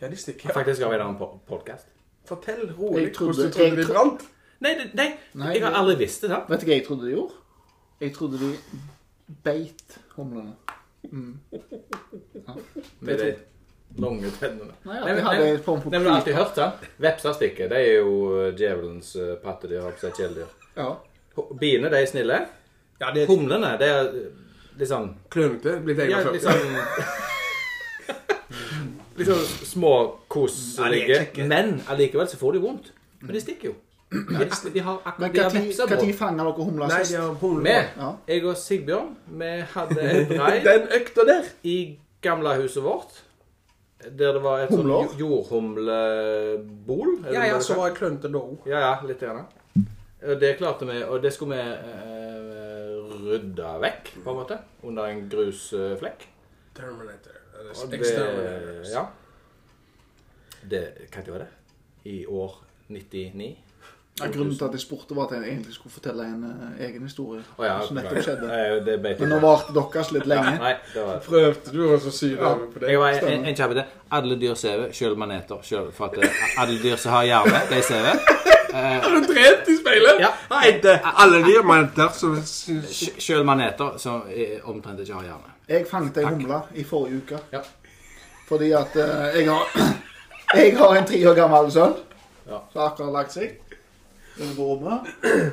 S1: Ja, de stikker. Ja.
S3: Faktisk har vi en annen podkast.
S1: Fortell rolig
S2: Jeg trodde-
S1: hvordan du trodde
S2: jeg
S1: de
S2: tro-
S1: brant.
S3: Nei, det- nei,
S2: Nei,
S3: jeg har
S2: det-
S3: aldri visst det. sant?
S2: Vet du hva jeg trodde de gjorde? Jeg trodde de beit humlene.
S3: Med de lange tennene.
S2: Nei, at
S3: men-
S2: de hadde en form for
S3: nei, men du har alltid hørt det. Vepser stikker. De er jo djevelens eh, pattedyr, har jeg på seg kjæledyr.
S2: Ja.
S3: Ho- Biene, de er snille.
S1: Ja, det er
S3: Humlene, de er eh, litt sånn
S1: klønete. Blitt
S3: Ja,
S1: 41.
S3: litt sånn Litt sånn små,
S1: liksom- Ja, de
S3: koselige.
S1: er kjekke.
S3: Men allikevel så får de vondt. Men de stikker jo. De, de har
S2: Men
S3: akkurat de har vepser
S2: når
S3: på.
S2: fanga dere humler
S1: Nei,
S2: sist?
S1: de har humle.
S3: Vi,
S2: Ja.
S3: jeg og Sigbjørn, vi hadde en reir
S1: Den økta der.
S3: i gamlehuset vårt. Der det var et sånn
S2: Humler?
S3: jo- jordhumlebol. er det
S1: Ja,
S3: det
S1: ja,
S3: det
S1: så
S3: kalles?
S1: var jeg klønete da òg.
S3: ja, ja, litt. Gjerne. Og det klarte vi, og det skulle vi eh, rydde vekk, på en måte. Under en grusflekk.
S1: Terminator. Eller
S3: Og
S1: Exterminator.
S3: det, ja. det Når var det? I år 99?
S2: Ja, grunnen til at jeg spurte, var at jeg egentlig skulle fortelle en eh, egen historie.
S3: Å ja.
S2: som nettopp skjedde.
S3: Nei, det beit
S2: Men nå varte deres litt lenge.
S3: Nei, det var
S1: Prøvde du også å sy det over på det?
S3: Jeg var en, en kjapp idé. Alle dyr sever, sjøl maneter. Selv for at eh, alle dyr som har hjerne, de sever.
S1: Har du trent i speilet?
S3: Ja.
S1: Nei, det, alle de manter som syns
S3: Sj- Sjøl maneter som eh, omtrent ikke har hjerne.
S2: Jeg fanget ei humle i forrige uke.
S3: Ja.
S2: Fordi at eh, jeg har Jeg har en tre år gammel sønn
S3: Ja.
S2: som akkurat har lagt seg. Den er på rommet.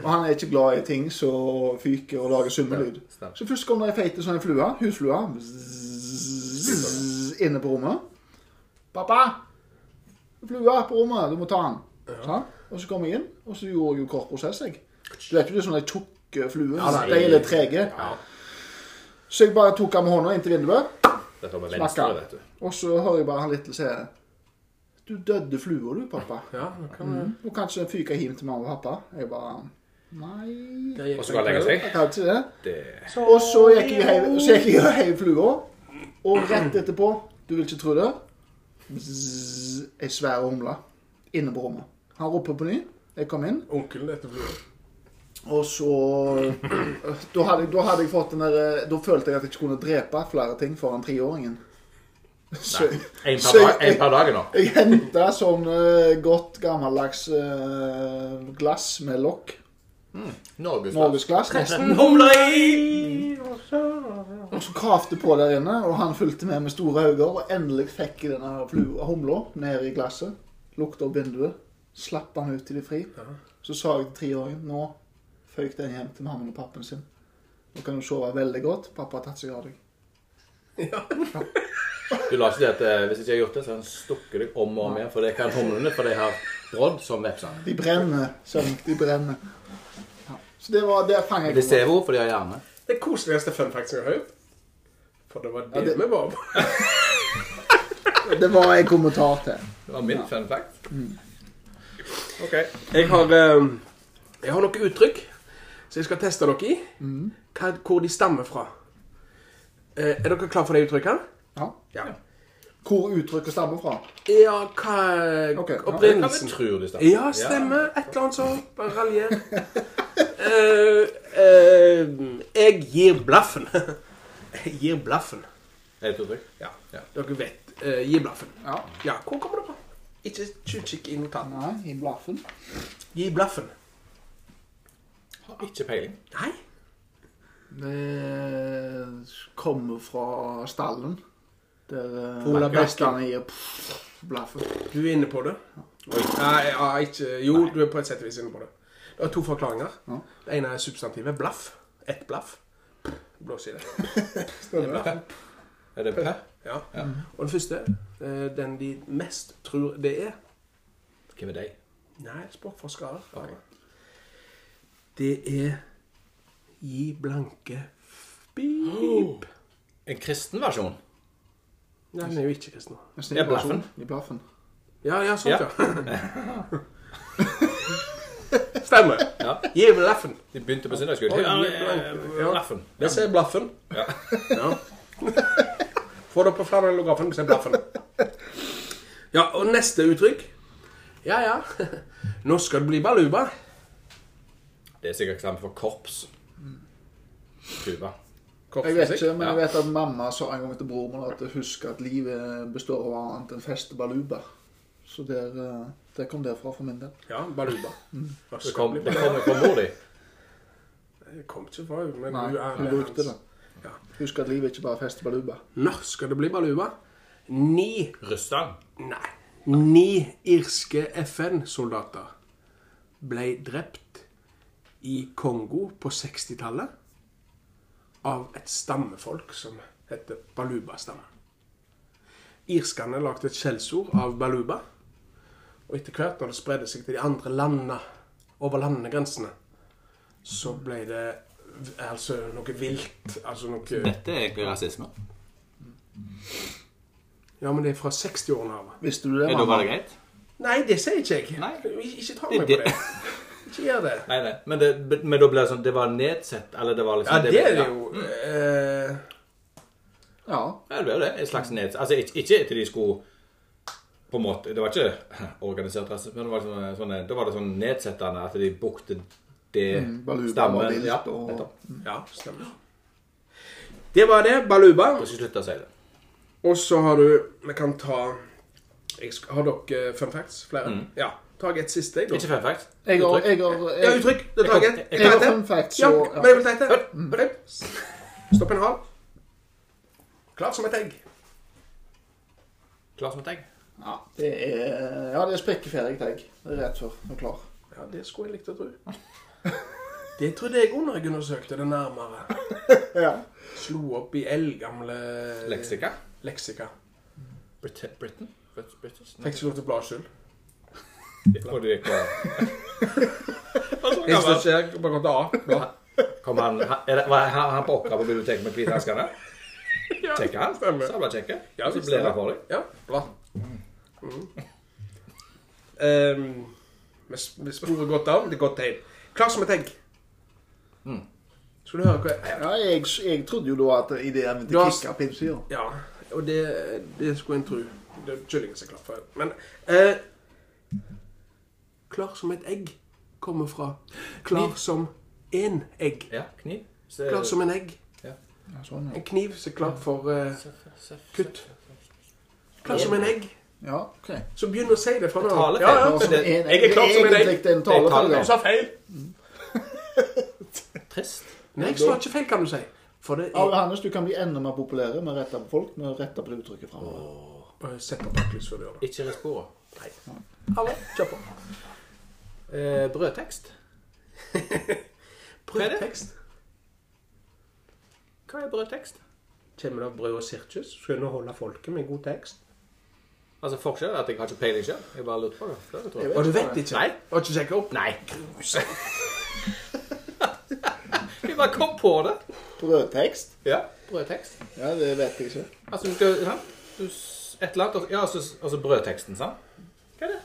S2: Og han er ikke glad i ting som fyker og lager summelyd.
S3: Stemmer.
S2: Så først kom det ei feite sånn flue, husflue, zzzz, inne på rommet. 'Pappa! Flua på rommet, du må ta den.' Sånn. Og så kom jeg inn, og så gjorde jeg jo kort prosess, jeg. Du vet jo, det er sånne tjukke fluer.
S3: nei.
S2: de er litt trege. Så jeg bare tok han med hånda inntil vinduet.
S3: Dette var med venstre,
S2: Snakka.
S3: vet du.
S2: Og så hører jeg bare han litt si Du døde flua du, pappa. Mm.
S1: Ja,
S2: Og kanskje fyker hjem til mamma og pappa. Jeg bare Nei
S1: det gikk
S3: Og så skal han legge seg.
S2: Jeg kan ikke det.
S3: Det
S2: Og så gikk jeg hei- så gikk jeg og heiv flua, og rett etterpå Du vil ikke tro det. Zzz, Ei svær humle inne på rommet. Han ropte på ny. Jeg kom inn,
S1: Onkelen etter blodet.
S2: og så Da hadde, jeg- da hadde jeg fått den der eh, Da følte jeg at jeg ikke kunne drepe flere ting foran treåringen. Så,
S3: En per dag, en per dag nå.
S2: Jeg henta sånn eh, godt gammeldags eh, glass med lokk.
S3: Norges
S2: Norgesglass, nesten.
S3: Humla i!
S2: Og så kravte på der inne, og han fulgte med med store øyne. Og endelig fikk jeg denne flua, humla ned i glasset. Lukta opp vinduet. Slapp han ut i det fri. Så sa jeg til treåringen nå føyk den hjem til mammaen og pappen sin. Nå kan du sove veldig godt. Pappa har tatt seg av deg.
S3: Du la ikke det at eh, hvis ikke jeg har gjort det, så har han stukket deg om og om igjen. For det kan humlene, for de har brodd som vepsene.
S2: De brenner, sønn. De brenner. Ja. Så det var der fanget
S3: De
S2: jeg
S3: ser hvor, for de har hjerne.
S1: Det koseligste fun facts jeg har hørt. For det var det,
S2: det-
S1: vi var på.
S2: Det var en kommentar til.
S3: Det var min fun fact. OK.
S1: Jeg har, eh, jeg har noen uttrykk som jeg skal teste dere i. Hva, hvor de stammer fra. Eh, er dere klar for det uttrykket?
S2: Ja.
S1: Ja.
S2: Hvor uttrykket stammer fra.
S1: Ja, hva
S2: Ok, ja.
S3: Det kan vi
S1: Opprinnelsen.
S3: tro de stemmer.
S1: Ja, stemmer. Et eller annet sånt. Bare raljer. Eh, eh, jeg gir blaffen. jeg gir blaffen.
S3: Er det et uttrykk?
S1: Ja.
S3: Ja.
S1: Dere vet. eh, gi blaffen.
S2: Ja.
S1: Ja, hvor kommer det fra? Ikke tjuvkikk i notatene.
S2: Nei, i blaffen.
S1: Gi blaffen.
S3: Har ikke peiling.
S1: Nei.
S2: Det kommer fra stallen. Der eh,
S1: Ola Bekken.
S2: bestene gir pff, blaffen.
S1: Du er inne på det. Nei, ja, ikke. Jo, du er på et sett og vis inne på det. Det er to forklaringer.
S2: Ja.
S1: Det ene er substantivet blaff. Ett blaff. Blås i det. Det er blaffen.
S3: Er det P?
S1: Ja.
S3: Ja.
S1: Og den første, eh, den de mest tror det er
S3: Hvem er de?
S1: Nei, språkforskere.
S3: Ok.
S1: Det er gi blanke f- pip.
S3: En kristen versjon?
S1: Nei, den er jo ikke kristen.
S2: Nesten
S3: Ja,
S2: i blaffen.
S3: blaffen.
S2: I blaffen.
S1: Ja, ja, sånn,
S3: Ja.
S1: ja. Stemmer.
S3: Ja.
S1: Gi blaffen.
S3: De begynte på søndagsskolen.
S1: Oi,
S3: Ja,
S1: blank.
S3: eh,
S1: Ja.
S3: Laffen.
S1: Det sier blaffen.
S3: Ja.
S1: Ja. Få det på flanellografen, det sier blaffen. Ja, og neste uttrykk. Ja, ja. Nå skal det bli baluba.
S3: Det er sikkert eksamen for korps. Kuba.
S2: Jeg vet ikke, men
S3: Ja.
S2: jeg vet at mamma sa en gang til bror min at husk at livet består av annet enn fest og baluba. Så der, eh, der kom det fra for min del.
S1: Ja, baluba. Nå
S3: Det
S1: skal
S3: kom,
S1: det
S3: det
S1: bli
S3: kom fra mor di.
S1: baluba. Det kom ikke fra henne, men
S2: Nei,
S1: hun er
S2: hun brukte det.
S1: Ja.
S2: Husk at livet ikke bare er fest og baluba.
S1: Når skal det bli baluba? Ni
S3: Rystan.
S1: Nei. Ni irske FN-soldater ble drept i Kongo på 60-tallet av et stammefolk som heter baluba-stammen. Irskene lagde et skjellsord av baluba, og etter hvert, når det spredde seg til de andre landene over landegrensene, så ble det v- altså noe vilt. Altså noe
S3: Dette er egentlig rasisme.
S1: Ja, men det er fra 60-årene av.
S2: Visste du det,
S3: Er da var
S2: mamma?
S3: det greit?
S1: Nei, det sier ikke jeg.
S3: Nei.
S1: Ik- Ikke ta
S3: Det-
S1: meg på
S3: det-
S1: det. Ikke gjør det.
S3: Nei, nei. Men, det, men da ble det sånn Det var nedsett, eller det var liksom
S1: Ja, det er
S3: ble-
S1: det jo. eh,
S2: Ja.
S3: Ja, det ble jo det. En slags nedsett. Altså, ikke, ikke til de skulle på en måte, Det var ikke organisert rasisme, men det var, sånn, sånn, da var det sånn nedsettende at de bukte det
S2: Mm, baluba var
S3: stammen
S2: vilt,
S3: Ja,
S2: og-
S3: nettopp.
S1: Ja, stemmer. Det var det. Baluba.
S3: Jeg skal slutte å si det.
S1: Og så har du Vi kan ta jeg sk- Har dere eh, fun facts? Flere? Ja. Ta et siste. Jeg, da.
S3: Ikke fun fact.
S2: Jeg har,
S3: Uttrykk.
S2: jeg har,
S1: Ja,
S2: jeg,
S1: uttrykk. Det tar jeg
S3: Jeg-
S1: et.
S3: jeg-
S1: Ta
S2: jeg
S1: et.
S2: har fun facts,
S1: Ja,
S2: så- ja.
S1: men jeg vil ta et. Hør. Stopp en hal. Klar som et egg.
S3: Klar som et egg.
S2: ja, det er, ja, det er sprikkeferdig egg. Det er rett før du er klar.
S1: Ja, det skulle jeg likt å tro. Det trodde jeg òg når jeg undersøkte det nærmere.
S2: Ja.
S1: Slo opp i eldgamle
S3: Leksika.
S1: leksika.
S3: Brit Britain? Brit British?
S1: Fikk ikke lov til å bla sjøl.
S3: Og du gikk på
S1: Jeg står ikke her, bare kom til A. Bla.
S3: Kom han, han- er det, var han, han på Åkra på biblioteket med hvite hanskene?
S1: Ja,
S3: Kjekke han?
S1: stemmer.
S3: Sabla kjekke.
S1: Ja,
S3: så
S1: visst er
S3: ble det
S1: det.
S3: for deg.
S1: Ja, bra. Mm. Um, vi s- vi sporer godt av. Det er godt tegn. Klar som et egg. Skal du høre hva
S2: ja jeg, jeg trodde jo da at ideen min til
S1: Du har-
S2: kikka pinnsvin.
S1: Ja, og det, det skulle en tro. Det er kyllingen som er klar for. Men eh, Klar som et egg kommer fra klar som en egg.
S3: Ja, kniv. Se-
S1: Klar som en egg.
S2: Ja, sånn, ja.
S1: En kniv som er klar for eh,
S3: se- se- se-
S1: kutt. Klar som en egg.
S2: ja ok.
S1: Så begynn å si det fra nå
S3: Talefeil.
S1: Ja, ja.
S2: Klar som
S3: det-
S2: en egg.
S1: jeg er klar
S2: Det
S1: som en egg.
S2: egentlig en
S3: Det er
S2: tale for
S3: tale.
S2: det.
S1: Du sa feil.
S3: Trist.
S1: Nei, jeg sa ikke feil, kan du si. For det
S2: Ja,
S1: er
S2: Johannes, du kan bli enda mer populær med å rette på folk med å rette på det uttrykket framover.
S1: Bare Sett på baklys før du gjør det.
S3: Ikke respora. Nei.
S1: Ha det. Kjør på.
S3: Eh, brødtekst. Hva er det?
S1: Brødtekst.
S3: Hva er brødtekst?
S1: Kommer det av brød og sirkus? Skal underholde folket med god tekst?
S3: Altså Forskjellen er at jeg har ikke peiling sjøl. Jeg bare lurte på det. det. tror jeg.
S1: Og du vet ikke?
S3: Nei.
S1: Har ikke sjekket opp?
S3: Nei. Jeg bare kom på det.
S2: Brødtekst?
S3: Ja, brødtekst.
S2: Ja, det vet jeg ikke.
S3: Altså, du skal ja, du, s- Et eller annet og- Ja, altså, altså brødteksten, sant? Hva er det?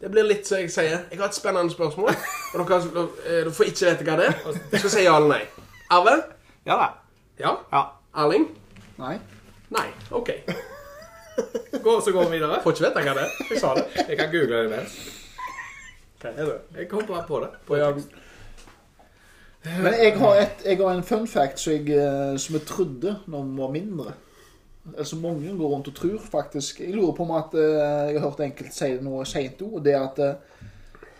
S1: Det blir litt som jeg sier. Jeg har et spennende spørsmål. Og dere, eh, dere får ikke vite hva det er. Jeg skal si ja eller nei. Arve?
S3: Ja da.
S1: Ja?
S3: Ja.
S1: Erling?
S2: Nei.
S1: Nei. OK.
S3: Gå, så går vi videre.
S1: Får ikke vite hva det er. Jeg sa det.
S3: Jeg kan google det imens.
S1: Hva er det?
S3: Jeg kom bare på det.
S2: Men jeg har, et, jeg har en fun fact som jeg, eh, som jeg trodde når vi var mindre. Altså Mange går rundt og tror, faktisk. Jeg lurer på om at eh, jeg har hørt enkelte si det nå seint òg. Det at eh,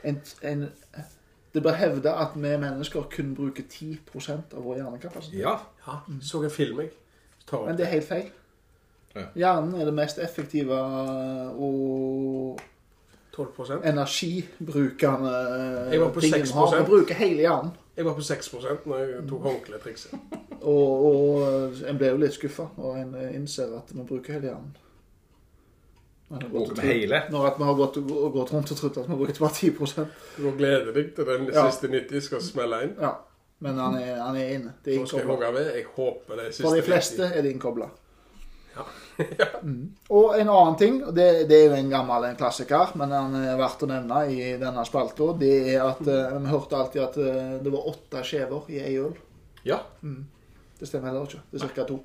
S2: en, en, det blir hevda at vi mennesker kun bruker 10 av vår hjernekapasitet.
S3: Ja.
S1: Ja, så en film, jeg. Tar opp
S2: Men det er helt feil.
S3: Ja.
S2: Hjernen er det mest effektive eh, og
S1: 12
S2: energibrukende eh,
S1: Jeg var på
S2: tingen
S1: 6%.
S2: har. Man bruker hele hjernen.
S1: Jeg var på 6 når jeg tok håndkletrikset.
S2: Og Og, og en blir jo litt skuffa når en eh, innser at vi bruker hele hjernen. Når en har gått og
S3: Bruker vi
S2: trodd-
S3: hele?
S2: Når at vi har gått, og gått rundt og trodd at vi brukte bare 10
S1: Du må glede deg til den
S2: Ja.
S1: siste 90 skal smelle inn.
S2: Ja. Men han er, han er inne. Det er
S1: Nå skal jeg
S2: innkoblet.
S1: hogge ved. Jeg håper det er siste
S2: For de fleste er det innkobla.
S1: Ja.
S2: Mm. Og en annen ting, og det, det er jo en gammel en klassiker, men den er verdt å nevne i denne spalta, det er at eh, vi hørte alltid at eh, det var åtte skjever i ei øl.
S3: Ja.
S2: Det stemmer heller ikke. Det er ca. to.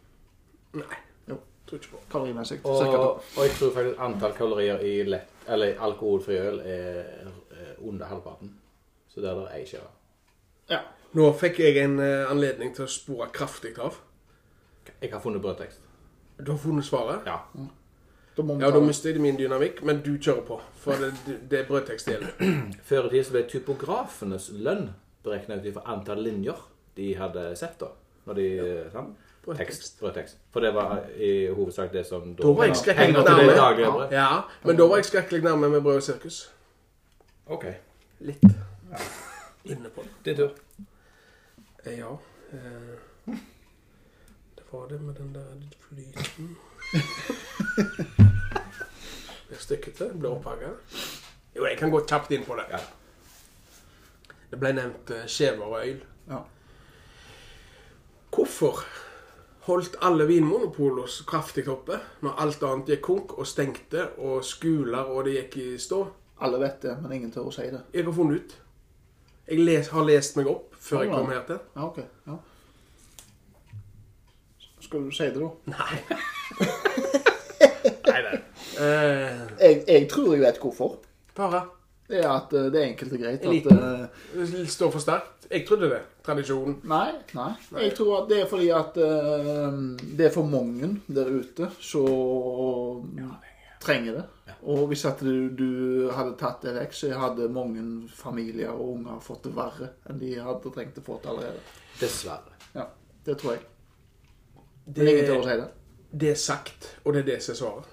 S1: 90. Nei.
S2: Jo.
S1: Tror ikke på.
S2: Kalorier med seg.
S3: Og,
S2: Cirka to.
S3: og jeg tror faktisk antall kalorier i lett, eller i alkoholfri øl er eh, under halvparten. Så der er det ei skive.
S2: Ja.
S1: Nå fikk jeg en eh, anledning til å spore kraftig av.
S3: Jeg har funnet brødtekst.
S1: Du har funnet svaret?
S3: Ja.
S2: Da må vi
S1: Ja,
S2: ta
S1: da
S2: det.
S1: mister jeg min dynamikk, men du kjører på. For det, det er brødtekstdelen.
S3: Før i tid så ble typografenes lønn beregnet ut ifra antall linjer de hadde sett, da. Når de sant? Tekst, brødtekst. For det var i hovedsak det som
S1: Da var jeg skrekkelig
S3: penger til det daglige
S1: nærme.
S3: brød.
S1: Ja, men da var jeg skrekkelig nærme med brød og sirkus.
S3: OK.
S1: Litt. Inne på det.
S3: Din tur.
S1: Eh, Ja. eh, Det var det med den der flyten Blir stykkete, blir opphagga. Jo, jeg kan gå kjapt inn på det.
S3: Ja.
S1: Det ble nevnt eh, skjever og øl.
S2: Ja.
S1: Hvorfor holdt alle vinmonopolene så kraftig oppe når alt annet gikk konk og stengte og skoler og det gikk i stå?
S2: Alle vet det, men ingen tør å si det.
S1: Jeg har funnet ut. Jeg les, har lest meg opp før jeg kom her til.
S2: Ja, OK. Ja. Skal du si det, da?
S1: Nei.
S3: Nei, nei.
S1: Eh,
S2: Jeg, jeg tror jeg vet hvorfor.
S1: bare.
S2: Det er at eh, det er enkelt og greit. At,
S1: Eliten.
S2: eh,
S1: Det står for sterkt. Jeg trodde det. Tradisjonen.
S2: Nei, nei. Jeg tror at det er fordi at eh, det er for mange der ute som trenger det. Og hvis at du, du hadde tatt det vekk, så hadde mange familier og unger fått det verre enn de hadde trengt å få det allerede.
S3: Dessverre.
S2: Ja, Det tror jeg. Men
S1: Det,
S2: ingen tør å si det.
S1: det er sagt, og det er det som er svaret.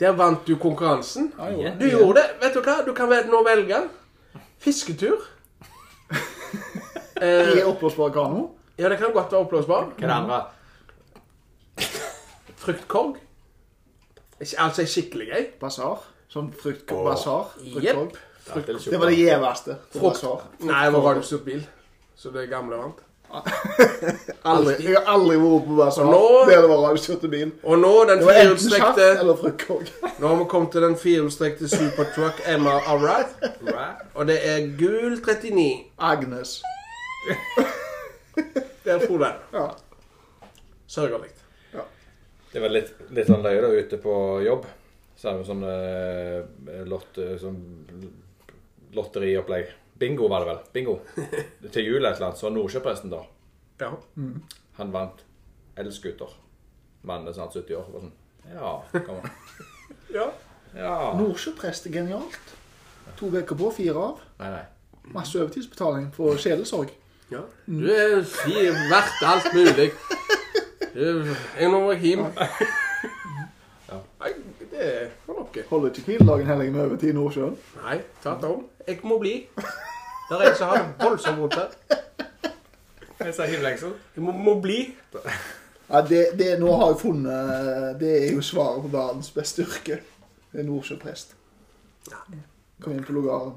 S1: Der vant du konkurransen.
S2: Ja, jo.
S3: Igjen.
S1: Du gjorde det. Vet du hva? Du kan vel- nå velge fisketur.
S2: I
S1: Eh,
S2: oppblåsbar kano.
S1: ja, det kan godt være oppblåsbar.
S3: Hva er det andre?
S1: Fruktkorg. Ikke- Altså ei skikkelig ei.
S2: Basar. Som fruktkorg. Basar.
S1: Jepp.
S2: Fruktkorg.
S3: Frukt- eller
S2: Det var det
S3: sjokolade.
S2: gjeveste.
S1: Frukt-
S2: Basar.
S1: Nei, det var radiostyrt bil. Så det gamle vant.
S2: Aldri, jeg har aldri vært på basar.
S1: Nå-
S2: Der det var radiostyrt bil.
S1: Og nå den
S2: Det var enten sjaft
S1: firehjulstrekte
S2: eller fruktkorg.
S1: Nå har vi kommet til den firehjulstrekte supertruck Emma Alright.
S3: Right.
S1: Og det er gul 39.
S2: Agnes.
S1: Der for den.
S2: Ja.
S1: Sørgelig.
S3: Det var litt, litt sånn løye da, ute på jobb. Så er det sånn eh, lot, sånn lotteriopplegg. Bingo var det vel. Bingo. Til jul et eller annet. Så var Nordsjøpresten da.
S1: Ja.
S3: Han vant elskuter. Mannen er snart 70 år. Var sånn. Ja, kom an.
S1: ja.
S3: Ja.
S2: Nordsjøprest er genialt. To uker på, fire av.
S3: Nei, nei.
S2: Masse overtidsbetaling for sjelesorg.
S1: ja. Du er fi- verdt alt mulig. Du, Jeg nå må hjem.
S3: Ja.
S1: Nei, det var noe.
S2: Holder ikke hviledagen heller med overtid i Nordsjøen.
S1: Nei, tvert om. Jeg må bli. Det er jeg som har voldsomt vondt her.
S3: Jeg sa himmelengsen.
S1: Jeg må, må bli.
S2: Ja, det, det nå har jeg funnet Det er jo svaret på verdens beste yrke. Det er nordsjøprest. Kom inn på logaren.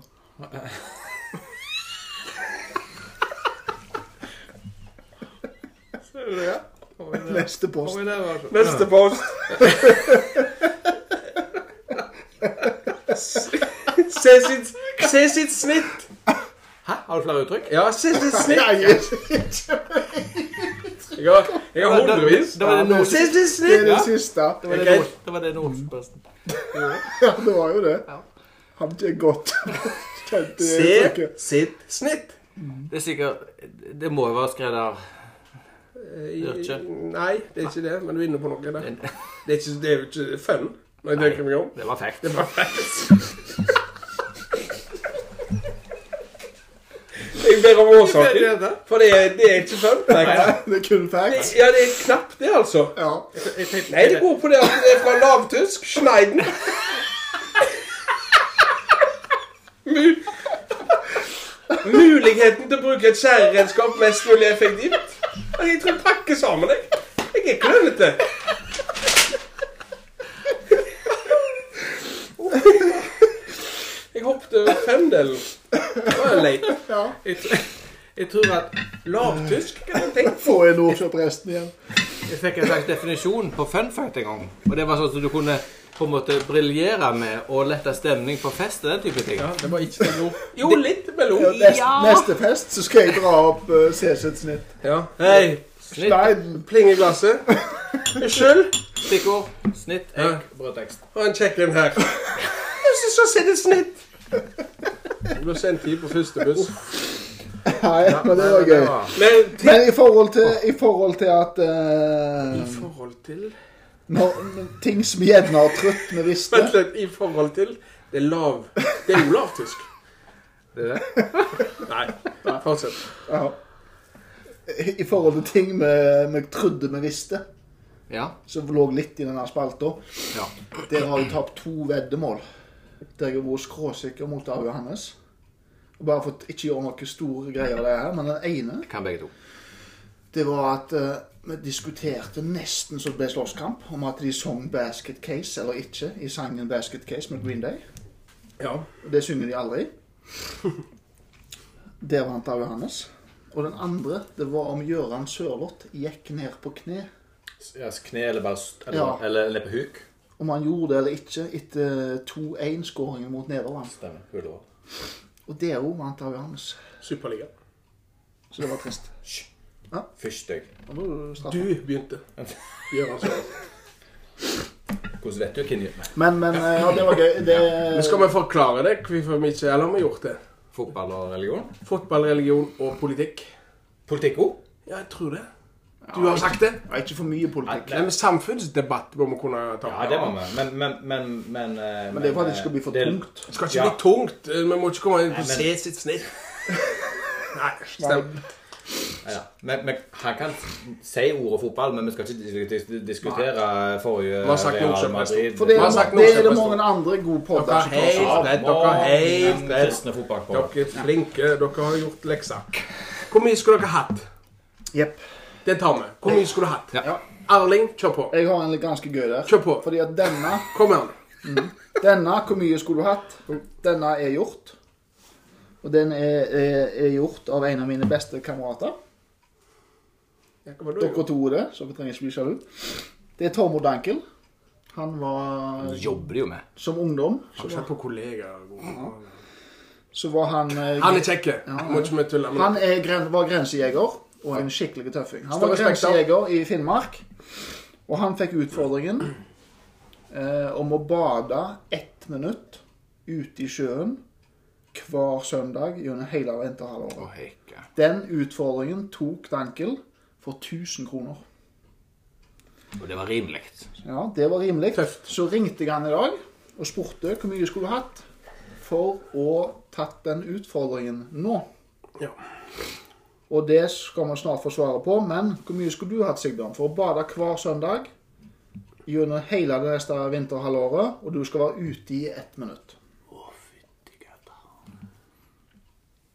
S3: Ser du det? ja? Kom inn der.
S2: Neste
S3: Kom
S2: post.
S3: inn der, vær så-
S1: Neste post. Se sitt, se sitt snitt.
S3: Hæ? Har du flere uttrykk?
S1: Ja, se sitt snitt.
S2: Nei, det
S1: Jeg har, jeg har hundrevis.
S3: Det var det
S2: Ja,
S3: nord-
S1: Se sitt
S2: er
S1: snitt.
S2: det siste.
S3: det var det
S1: Ok.
S3: nord- det var det nordsjøpresten.
S2: Ja, det var jo det.
S3: Ja.
S2: Hadde ikke gått. Kjente det
S1: Se
S2: uttrykket.
S1: sitt snitt.
S3: Det er sikkert Det må jo være skredder... Gjør ikke.
S1: Eh, Nei, det er ikke det, men du er inne på noe der.
S3: Men-
S1: Det er, ikke, det er jo ikke fun når jeg tenker meg om.
S3: Det var fact.
S1: Det er bare facts. Jeg ber om årsaken, for det er, det er ikke fun.
S2: Det er kun facts.
S1: Ja, det er knapt det, altså.
S2: Ja.
S1: Nei, det går på det at det er fra lavtysk. Schneiden. Mu. muligheten til å bruke et skjæreredskap mest mulig effektivt. Og Jeg tror jeg pakker sammen, jeg. Jeg er klønete. Jeg hoppet over femdelen. Det var leit.
S2: Ja.
S3: Jeg, tr- jeg tror at
S1: Lavtysk, kan jeg tenke.
S2: Få en ordkjøp resten igjen.
S3: jeg fikk en slags definisjon på fun fact en gang. Og det var sånn at du kunne på en måte briljere med å lette stemning på fest og den type ting.
S1: Ja, det var ikke det nå. Jo, litt
S2: Ja,
S1: mellom.
S2: neste,
S3: Ja.
S2: neste fest så skal jeg dra opp uh, snitt
S1: Ja.
S3: Hei! Snitt,
S2: Stein.
S1: Pling i glasset. Unnskyld.
S3: stikkord, snitt, egg, brødtekst.
S1: Og en kjekk en her. Jeg syns jeg ser et snitt. Du ble sendt tid på første buss.
S2: Nei, men det var
S3: det
S2: gøy.
S3: var-
S1: Men
S2: Men i forhold til, i forhold til at eh,
S1: I forhold til
S2: når, Ting som gjerne har trøtt vi visste
S1: Vent litt. I forhold til Det er lav Det er jo lavtysk.
S3: Det er det.
S1: Nei, fortsett.
S2: ja. I forhold til ting vi, vi trodde vi visste,
S3: Ja.
S2: som lå litt i denne spalta
S3: ja.
S2: Der har jeg tapt to veddemål. Der jeg har vært skråsikker mot Arve Johannes. Og Bare for å ikke gjøre noe store greier av det her, men den ene
S3: Kan begge to.
S2: Det var at eh, vi diskuterte nesten som det ble slåsskamp, om at de sang 'Basket Case' eller ikke i sangen 'Basket Case' med Green Day.
S1: Ja.
S2: Og det synger de aldri. Der vant Arve Johannes. Og den andre, det var om Gøran Sørloth gikk ned på kne.
S3: Ja, kne eller bare st- eller,
S2: Ja.
S3: eller, eller på huk.
S2: Om han gjorde det eller ikke etter 2-1-skåringen mot Nederland.
S3: Stemmer. Hul over.
S2: Og der òg vant Arve Johannes.
S1: Superliga.
S2: Så det var trist.
S3: Fyrst, jeg.
S2: Da må du straffe.
S1: Du begynte. Gjør altså.
S3: Hvordan vet du hvem gjør det?
S2: Men, men eh, ja, det var gøy. Det,
S1: Men skal vi forklare det hvorfor vi ikke Eller har vi gjort det?
S3: Fotball og religion?
S1: Fotball, religion og politikk.
S3: Politikk òg?
S1: Ja, jeg tror det. Du har sagt det.
S2: Ja, ikke for mye politikk.
S1: Men samfunnsdebatt må vi kunne ta.
S3: Ja, det må vi. Men, men, men, men eh,
S2: Men det er for at det ikke
S3: eh,
S2: skal bli for
S3: det-
S2: tungt.
S1: Det skal ikke
S3: Ja.
S1: bli tungt. eh, Vi må ikke komme inn på
S3: Nei, men-
S1: se sitt snitt. Nei, stemmer.
S3: Ja. Men, men han kan si ordet fotball, men vi skal ikke dis- dis- diskutere forrige
S1: har sagt
S3: Real
S1: Nordsjø
S3: Madrid.
S1: mest.
S2: For det
S1: Vi har
S2: er,
S1: sagt
S2: det,
S1: noe
S2: er det
S1: som
S2: mange andre gode
S1: Dere
S2: podder
S1: er
S2: som tar seg
S1: helt- Nei,
S2: av.
S1: dere er helt-
S3: Den kristne fotballpodden.
S1: Dere er flinke. Dere har gjort lekser. Hvor mye skulle dere hatt?
S2: Jepp.
S1: Det tar vi. Hvor mye skulle du hatt?
S3: Ja.
S1: Erling, kjør på.
S2: Jeg har en litt ganske gøy der.
S1: Kjør på.
S2: Fordi at denne,
S1: Kom igjen.
S2: denne Hvor mye skulle du hatt? Denne er gjort. Og den er, er, er gjort av en av mine beste kamerater.
S1: Ja, hva var det du
S2: Dere
S1: gjorde?
S2: to er det, så vi trenger ikke bli sjalu. Det er Tormod Dankel. Han var
S3: Jobber de jo med.
S2: Som ungdom
S1: Har du sett på kollegaer?
S2: så var han eh,
S1: Han er kjekk. Må ikke vi tulle med
S2: Han
S1: det.
S2: er, gren- var grensejeger og en skikkelig tøffing. Han
S1: Stor
S2: var
S1: respekt, da.
S2: grensejeger i Finnmark, og han fikk utfordringen eh, om å bade ett minutt ute i sjøen hver søndag gjennom hele vinterhalvåret.
S3: heike.
S2: Den utfordringen tok Dankel for 1000 kroner.
S3: Og det var rimelig.
S2: Ja, det var rimelig.
S1: Tøft.
S2: Så ringte jeg han i dag og spurte hvor mye skulle du hatt for å tatt den utfordringen nå.
S1: Ja.
S2: Og det skal vi snart få svaret på, men hvor mye skulle du hatt, Sigbjørn, for å bade hver søndag gjennom hele det neste vinterhalvåret, og du skal være ute i ett minutt?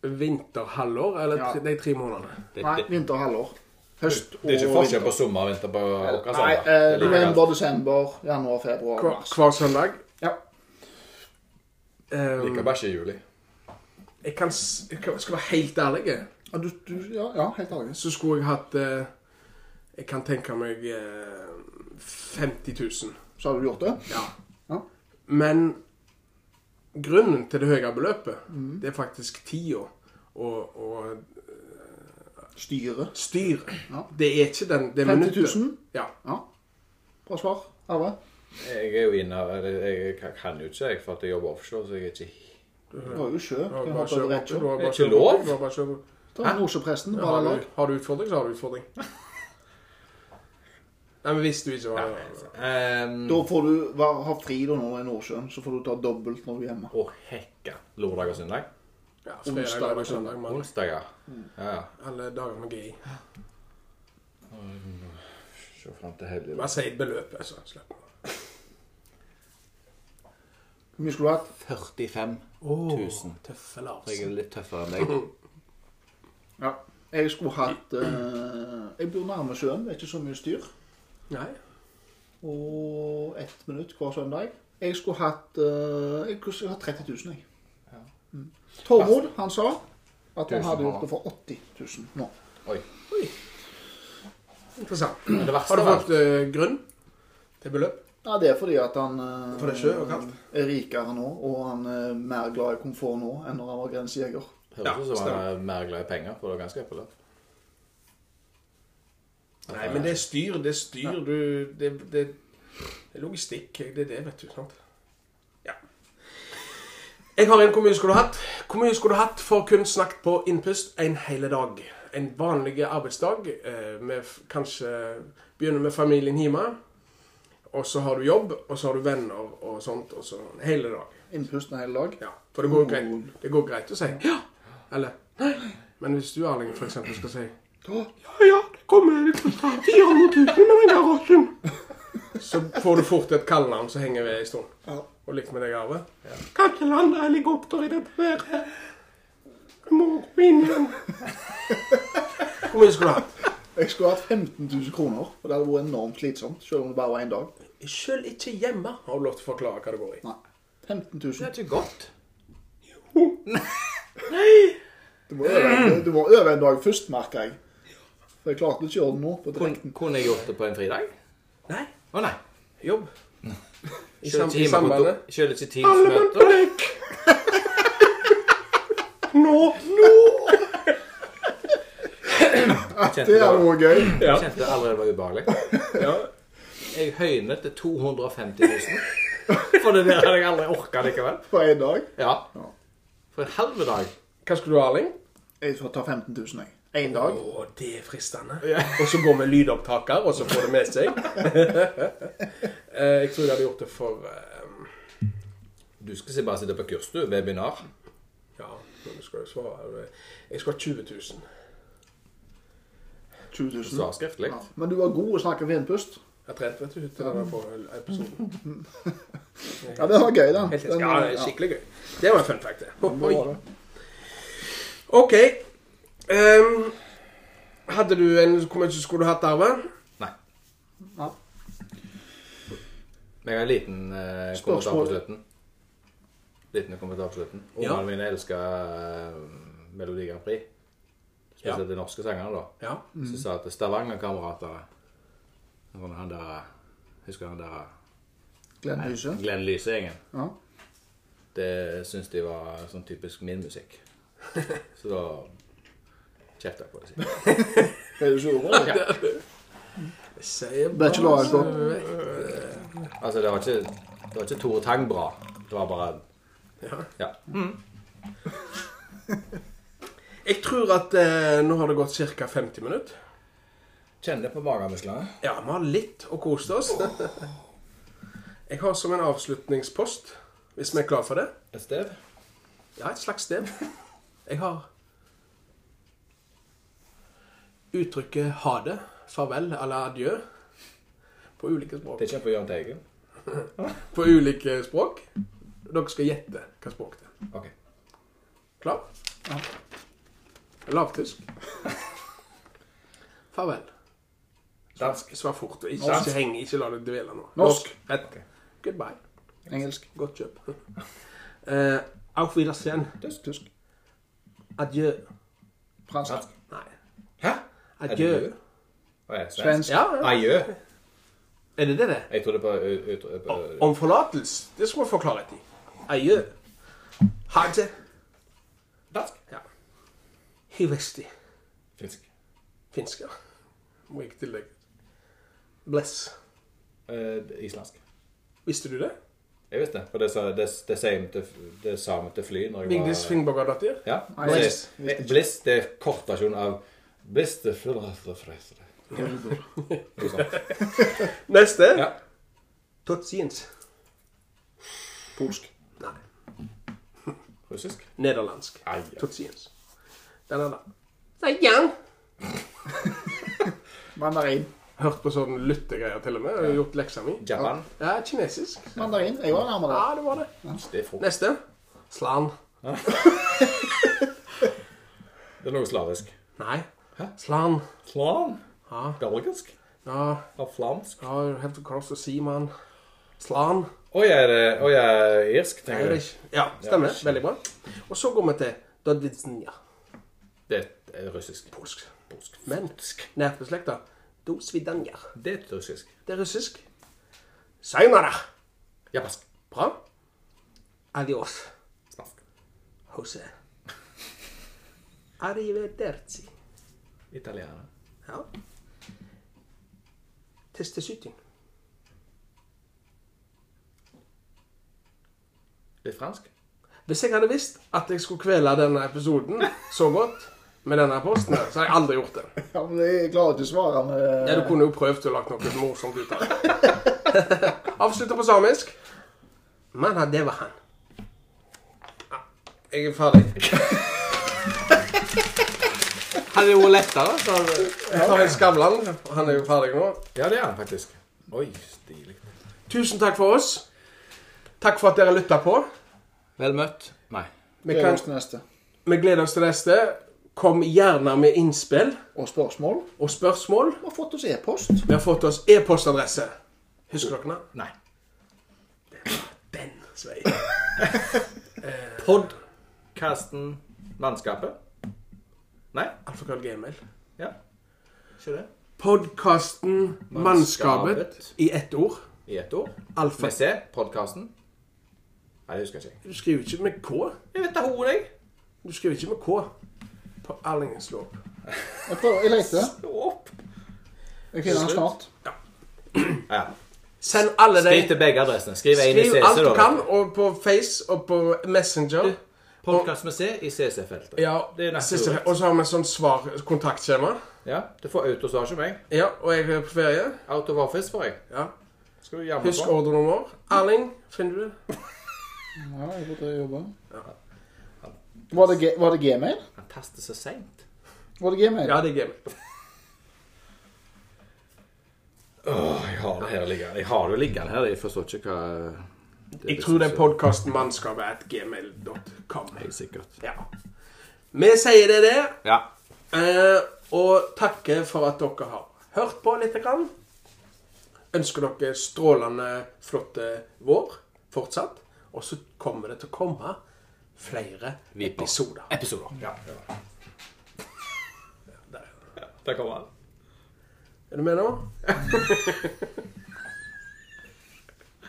S1: Vinterhalvår, eller
S2: Ja.
S1: tre- de tre månedene?
S3: Det,
S2: Nei,
S3: det,
S2: vinterhalvår. Høst og
S3: det er ikke forskjell
S2: vinter.
S3: på sommer og vinter på vår
S2: Nei,
S3: sommer.
S2: eh,
S3: Det er like
S2: november, desember, januar, februar,
S1: Hver,
S2: mars.
S1: hver søndag?
S2: Ja.
S1: Ehm,
S3: Liker bare ikke juli.
S1: jeg kan, s- jeg kan- skal være helt ærlig,
S2: Ja, Du, du, ja, ja, helt ærlig.
S1: så skulle jeg hatt eh, Jeg kan tenke meg eh, 50 000.
S2: Så har du gjort det?
S1: Ja.
S2: Ja.
S1: Men grunnen til det høye beløpet,
S2: Mm.
S1: det er faktisk tida og, og
S2: Styret.
S1: styret.
S2: Ja.
S1: Det er ikke den, det
S2: 50
S1: minuttet.
S2: 000?
S1: Ja.
S2: Ja. Bra svar. Arve?
S3: Jeg er jo inne Jeg jeg kan jo ikke, jeg, for at jeg jobber offshore, så jeg er ikke
S2: Du har jo sjø. Du
S1: Du har
S2: kan
S1: bare
S2: hoppe over
S1: kjørt
S2: rett sjø.
S1: Du har
S3: Det er
S1: bare
S3: ikke
S1: kjørt-
S3: lov.
S1: du har bare kjørt-
S2: Ta Nordsjøpresten.
S1: Har
S2: Bare
S1: du,
S2: lag.
S1: har du utfordring, så har du utfordring. Nei, men hvis du ikke har
S3: Ehm,
S2: Da får du være- ha fri da når du er i Nordsjøen, så får du ta dobbelt når du er hjemme.
S3: Å, hekka. Lørdag og søndag?
S1: ja,
S2: Onsdag,
S1: fredag eller søndag, mandag,
S3: Onsdager. Ja, ja.
S1: alle dager med GI.
S3: Se fram til helgen.
S1: Bare si altså. beløpet, så slipper vi.
S2: Hvor mye skulle du hatt?
S3: 45
S1: Åh,
S3: 000.
S1: Tøffe Lars.
S3: Jeg er litt tøffere enn deg.
S2: Ja. Jeg skulle hatt eh, Jeg bor nærme sjøen, det er ikke så mye styr.
S1: Nei.
S2: Og ett minutt hver søndag. Jeg skulle hatt eh, Jeg skulle hatt 30 000, jeg.
S3: Ja.
S2: Mm. Tormod, han sa at han
S3: Tusen
S2: hadde
S3: kroner.
S2: gjort det for 80 000 nå.
S1: Interessant.
S3: Men det verste
S1: Har du
S3: av alt-
S1: fått eh, grunn til beløp?
S2: Ja, det er fordi at han eh,
S1: For det er sjø og kaldt.
S2: er rikere nå, og han eh, er mer glad i komfort nå enn når han var grensejeger.
S1: Ja,
S3: Høres ut som han er mer glad i penger, for det er ganske høyt beløp.
S1: Nei, men det er styr. Det er styr. Du Det, det, det er logistikk. Det er det, vet du. Sant? Ja. Jeg har en Hvor mye skulle du hatt? Hvor mye skulle du hatt for kun snakket på innpust en hel dag? En vanlig arbeidsdag. eh, Med f- kanskje Begynner med familien hjemme. Og så har du jobb, og så har du venner og sånt. Og så hele dag.
S2: Innpusten hele dag.
S1: Ja, For det går greit, det går greit å si ja. Eller nei. Men hvis du, Erling, for eksempel skal si
S2: Å,
S1: ja, ja, det kommer det koster 400 000 av den garasjen. Så får du fort et kallenavn som henger ved en stund.
S2: Ja.
S1: Og likt med deg, Arve. Kan ikke lande helikopter i dette været. Du må gå inn igjen. Hvor mye skulle du hatt?
S2: Jeg skulle hatt 15 000 kroner, og det hadde vært enormt slitsomt, selv om det bare var én dag.
S1: Sjøl ikke hjemme har du lov til å forklare hva det går i.
S2: Nei. 15
S3: Det
S2: 000.
S3: er ikke godt.
S2: Du må øve, du må øve en dag først, merker jeg. For jeg klarte ikke å gjøre det nå på direkten.
S3: Kunne, kunne jeg gjort det på en fridag?
S1: Nei.
S3: Å nei.
S1: Jobb. I,
S3: Kjører
S1: sam
S3: ikke
S1: i sambandet.
S3: hjemmekontor- Kjører ikke
S1: Alle mann på
S3: Teams-møter?
S1: lek! Nå! Nå!
S3: Kjente
S2: Det
S3: det
S2: er
S3: var-
S2: noe gøy.
S1: Ja.
S3: kjente det allerede var ubehagelig.
S1: ja.
S3: Jeg høynet til 250 000. For det der hadde jeg aldri orka likevel.
S2: På én dag.
S3: Ja. For en halv dag.
S1: Hva skulle du, Erling?
S2: Jeg får ta 15 000, jeg. Én dag.
S1: Å, det er fristende. Og så går vi lydopptaker, og så får det med seg. Eh, jeg tror jeg hadde gjort det for eh,
S3: Du skal si bare sitte på kurs, du. Webinar.
S1: Ja, men du skal jo svare Jeg skal ha 20 000.
S2: 20 000.
S3: Svar skriftlig.
S2: Ja. Men du var god å snakke ved innpust.
S1: Jeg har trent, vet du, til denne for- episoden.
S2: Ja, det var gøy, da.
S1: Helt
S2: Den-
S1: enig. Ja, det er skikkelig gøy. Det var en fun fact, det.
S2: Ja, det var
S1: Oi.
S2: det.
S1: OK. Ehm, hadde du en Hvor mye skulle du hatt, Arve?
S3: Nei.
S2: Ja.
S3: Men jeg har en liten eh, kommentar
S2: Spørsmål.
S3: på slutten. Liten kommentar på slutten. Ungene
S1: Ja.
S3: mine elsker eh, Melodi Grand Prix. Spesielt de norske sangerne, da.
S1: Ja.
S3: Så jeg sa at Stavanger-kamerater sånn han der, Husker han der
S2: Glenn Lyse.
S3: Glenn Lyse-gjengen?
S2: Ja.
S3: Det syns de var sånn typisk min musikk. Så da kjefta jeg på det. sikkert.
S2: Er du sur over det? Bachelor,
S1: Eh,
S2: altså.
S3: Altså, det var ikke, det var ikke Tore Tang bra. Det var bare
S1: Ja.
S3: Ja.
S1: Jeg tror at eh, nå har det gått ca. 50 minutter.
S3: Kjenner det på magemusklene.
S1: Ja, vi har litt og kost oss. Jeg har som en avslutningspost, hvis vi er klar for det.
S3: Et sted.
S1: Ja, et slags sted. Jeg har uttrykket 'ha det', 'farvel' eller 'adjø' på ulike språk.
S3: Det kommer fra Jahn Teigen.
S1: På ulike språk. Dere skal gjette hva språk det er.
S3: Ok.
S1: Klar?
S2: Ja.
S1: Lavtysk. Farvel.
S3: Dansk.
S1: Svar fort. og Ikke,
S2: Norsk.
S1: ikke heng, ikke la det dvele nå.
S2: Norsk.
S1: Et. Goodbye.
S2: Engelsk.
S1: Godt kjøp. Eh, auf Wiedersehen.
S2: Tysk. Tysk.
S1: Adjø.
S2: Fransk.
S3: Fransk.
S1: Nei.
S3: Hæ?
S1: Adjø.
S3: Adjø. Å, ja,
S2: Svensk.
S1: Ja, ja.
S3: Adjø.
S1: er det det det? er?
S3: Jeg trodde på, ut, ut, på
S1: Om forlatelse. Det skal vi få klarhet i. Adjø. Ha det.
S3: Dansk.
S1: Ja. Hivesti.
S3: Finsk.
S1: Finsk, ja. Må ikke tillegge. Bless.
S3: Eh, islandsk.
S1: Visste du det?
S3: Jeg visste det. For det, sa- det, det, sier vi til- det sa vi til fly når jeg var
S1: Vigdis Finnbogadottir?
S3: Ja.
S2: Nei,
S3: Bliss.
S2: visst- visst ikke.
S3: Bliss det er kortversjonen av Bliss det flytter freister.
S1: Neste.
S3: Ja.
S1: Totsiens.
S2: Polsk.
S1: Nei.
S3: Russisk.
S1: Nederlandsk.
S3: Ai, ja.
S1: Totsiens. Den er da. Sajan.
S2: Mandarin.
S1: Hørt på sånn lyttegreier til og med. og Gjort leksa mi.
S3: Japan.
S1: Ja, kinesisk.
S2: Mandarin. Jeg var nærmere.
S1: Ja, det var det.
S3: Det er frukt.
S1: Neste. Slan.
S3: Det er noe slavisk.
S1: Nei.
S3: Hæ?
S1: Slan.
S3: Flam?
S1: Ja.
S3: Belgisk?
S1: ja,
S3: Av flamsk?
S1: ja, helt across the sea, mann. Slan.
S3: Å, jeg er, det- å, jeg er irsk,
S1: Er
S3: tenker
S1: det
S3: du?
S1: ikke? Ja, stemmer. Veldig bra. Og så går vi til Dodzinja.
S3: Det er russisk.
S1: Polsk.
S3: Polsk.
S1: Men nært beslekta. Dosvidanja.
S3: Det er russisk.
S1: Det er russisk. Sayonara.
S3: Japansk.
S1: Bra. Adios.
S3: Spansk.
S1: Jose. Arrivederci.
S3: Italiener.
S1: Ja. Testesytin.
S3: Litt fransk.
S1: Hvis jeg hadde visst at jeg skulle kvele denne episoden så godt med denne posten, her, så hadde jeg aldri gjort det.
S2: Ja, men jeg klarer ikke å svare med
S1: Ja, du kunne jo prøvd å lage noe morsomt ut av det. Avslutter på samisk. Manna, det var han. Ja, Jeg er ferdig. Hadde det vært lettere, så hadde jeg tar jeg Skavlan. Han er jo ferdig nå.
S3: Ja, det er han faktisk. Oi, stilig.
S1: Tusen takk for oss. Takk for at dere lytta på.
S3: Vel møtt. Nei.
S1: Vi,
S2: Gleder
S1: kan,
S2: oss til neste.
S1: vi gleder oss til neste. Kom gjerne med innspill
S2: Og spørsmål.
S1: og spørsmål.
S2: Vi har fått oss e-post.
S1: Vi har fått oss e-postadresse. Husker dere den?
S3: Nei.
S1: Den, Svei.
S3: Podkasten Mannskapet? Nei?
S1: Alfakrøll gmail.
S3: Ja. Ikke det?
S1: Podkasten Mannskapet,
S3: Mannskapet.
S1: i ett ord.
S3: I ett ord.
S1: Alfa.
S3: Med C. Podkasten. Nei, det husker jeg ikke.
S1: Du skriver ikke med K.
S3: Jeg vet da hodet, jeg.
S1: Du skriver ikke med K. På Erlingenslov.
S2: Jeg prøver, jeg leter.
S3: Stå opp.
S2: Jeg finner den snart.
S3: Ja, ja.
S1: Send alle
S3: Skriv
S1: de
S3: til begge adressene. Skriv en i
S1: Skriv
S3: CC,
S1: alt du
S3: da.
S1: kan, og på Face og på Messenger.
S3: Podkast med C i CC-feltet.
S1: Ja,
S3: det er nesten
S1: siste,
S3: korrekt.
S1: og så har vi sånn svar-kontaktskjema.
S3: Ja, Du får autosvar som meg.
S1: Ja, og jeg er på ferie.
S3: Out of office får jeg.
S1: Ja.
S3: Skal du jammen
S1: Husk
S3: på?
S1: ordrenummer. Erling, finner du det?
S2: Ja, jeg får til å jobbe. Var det, G- var det gmail?
S3: Han taster så seint.
S2: Var det gmail?
S1: Ja, det er gmail.
S3: Åh, jeg har det her liggende. Jeg har det liggende her. Jeg forstår ikke hva det
S1: Jeg tror det er podkasten mannskapet at gmail.com.
S3: Helt sikkert.
S1: Ja. Vi sier det, det.
S3: Ja.
S1: eh, Og takker for at dere har hørt på litt. Grann. Ønsker dere strålende, flotte vår fortsatt. Og så kommer det til å komme flere
S3: Viper.
S1: episoder.
S3: Episoder. Ja.
S1: Der.
S3: Der kommer han.
S1: Er du med nå?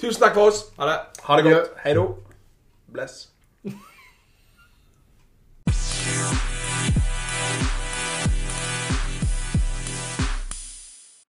S1: Tusen takk for oss.
S3: Ha det.
S1: Ha det
S2: Adjø.
S1: godt. Hei då. Bless.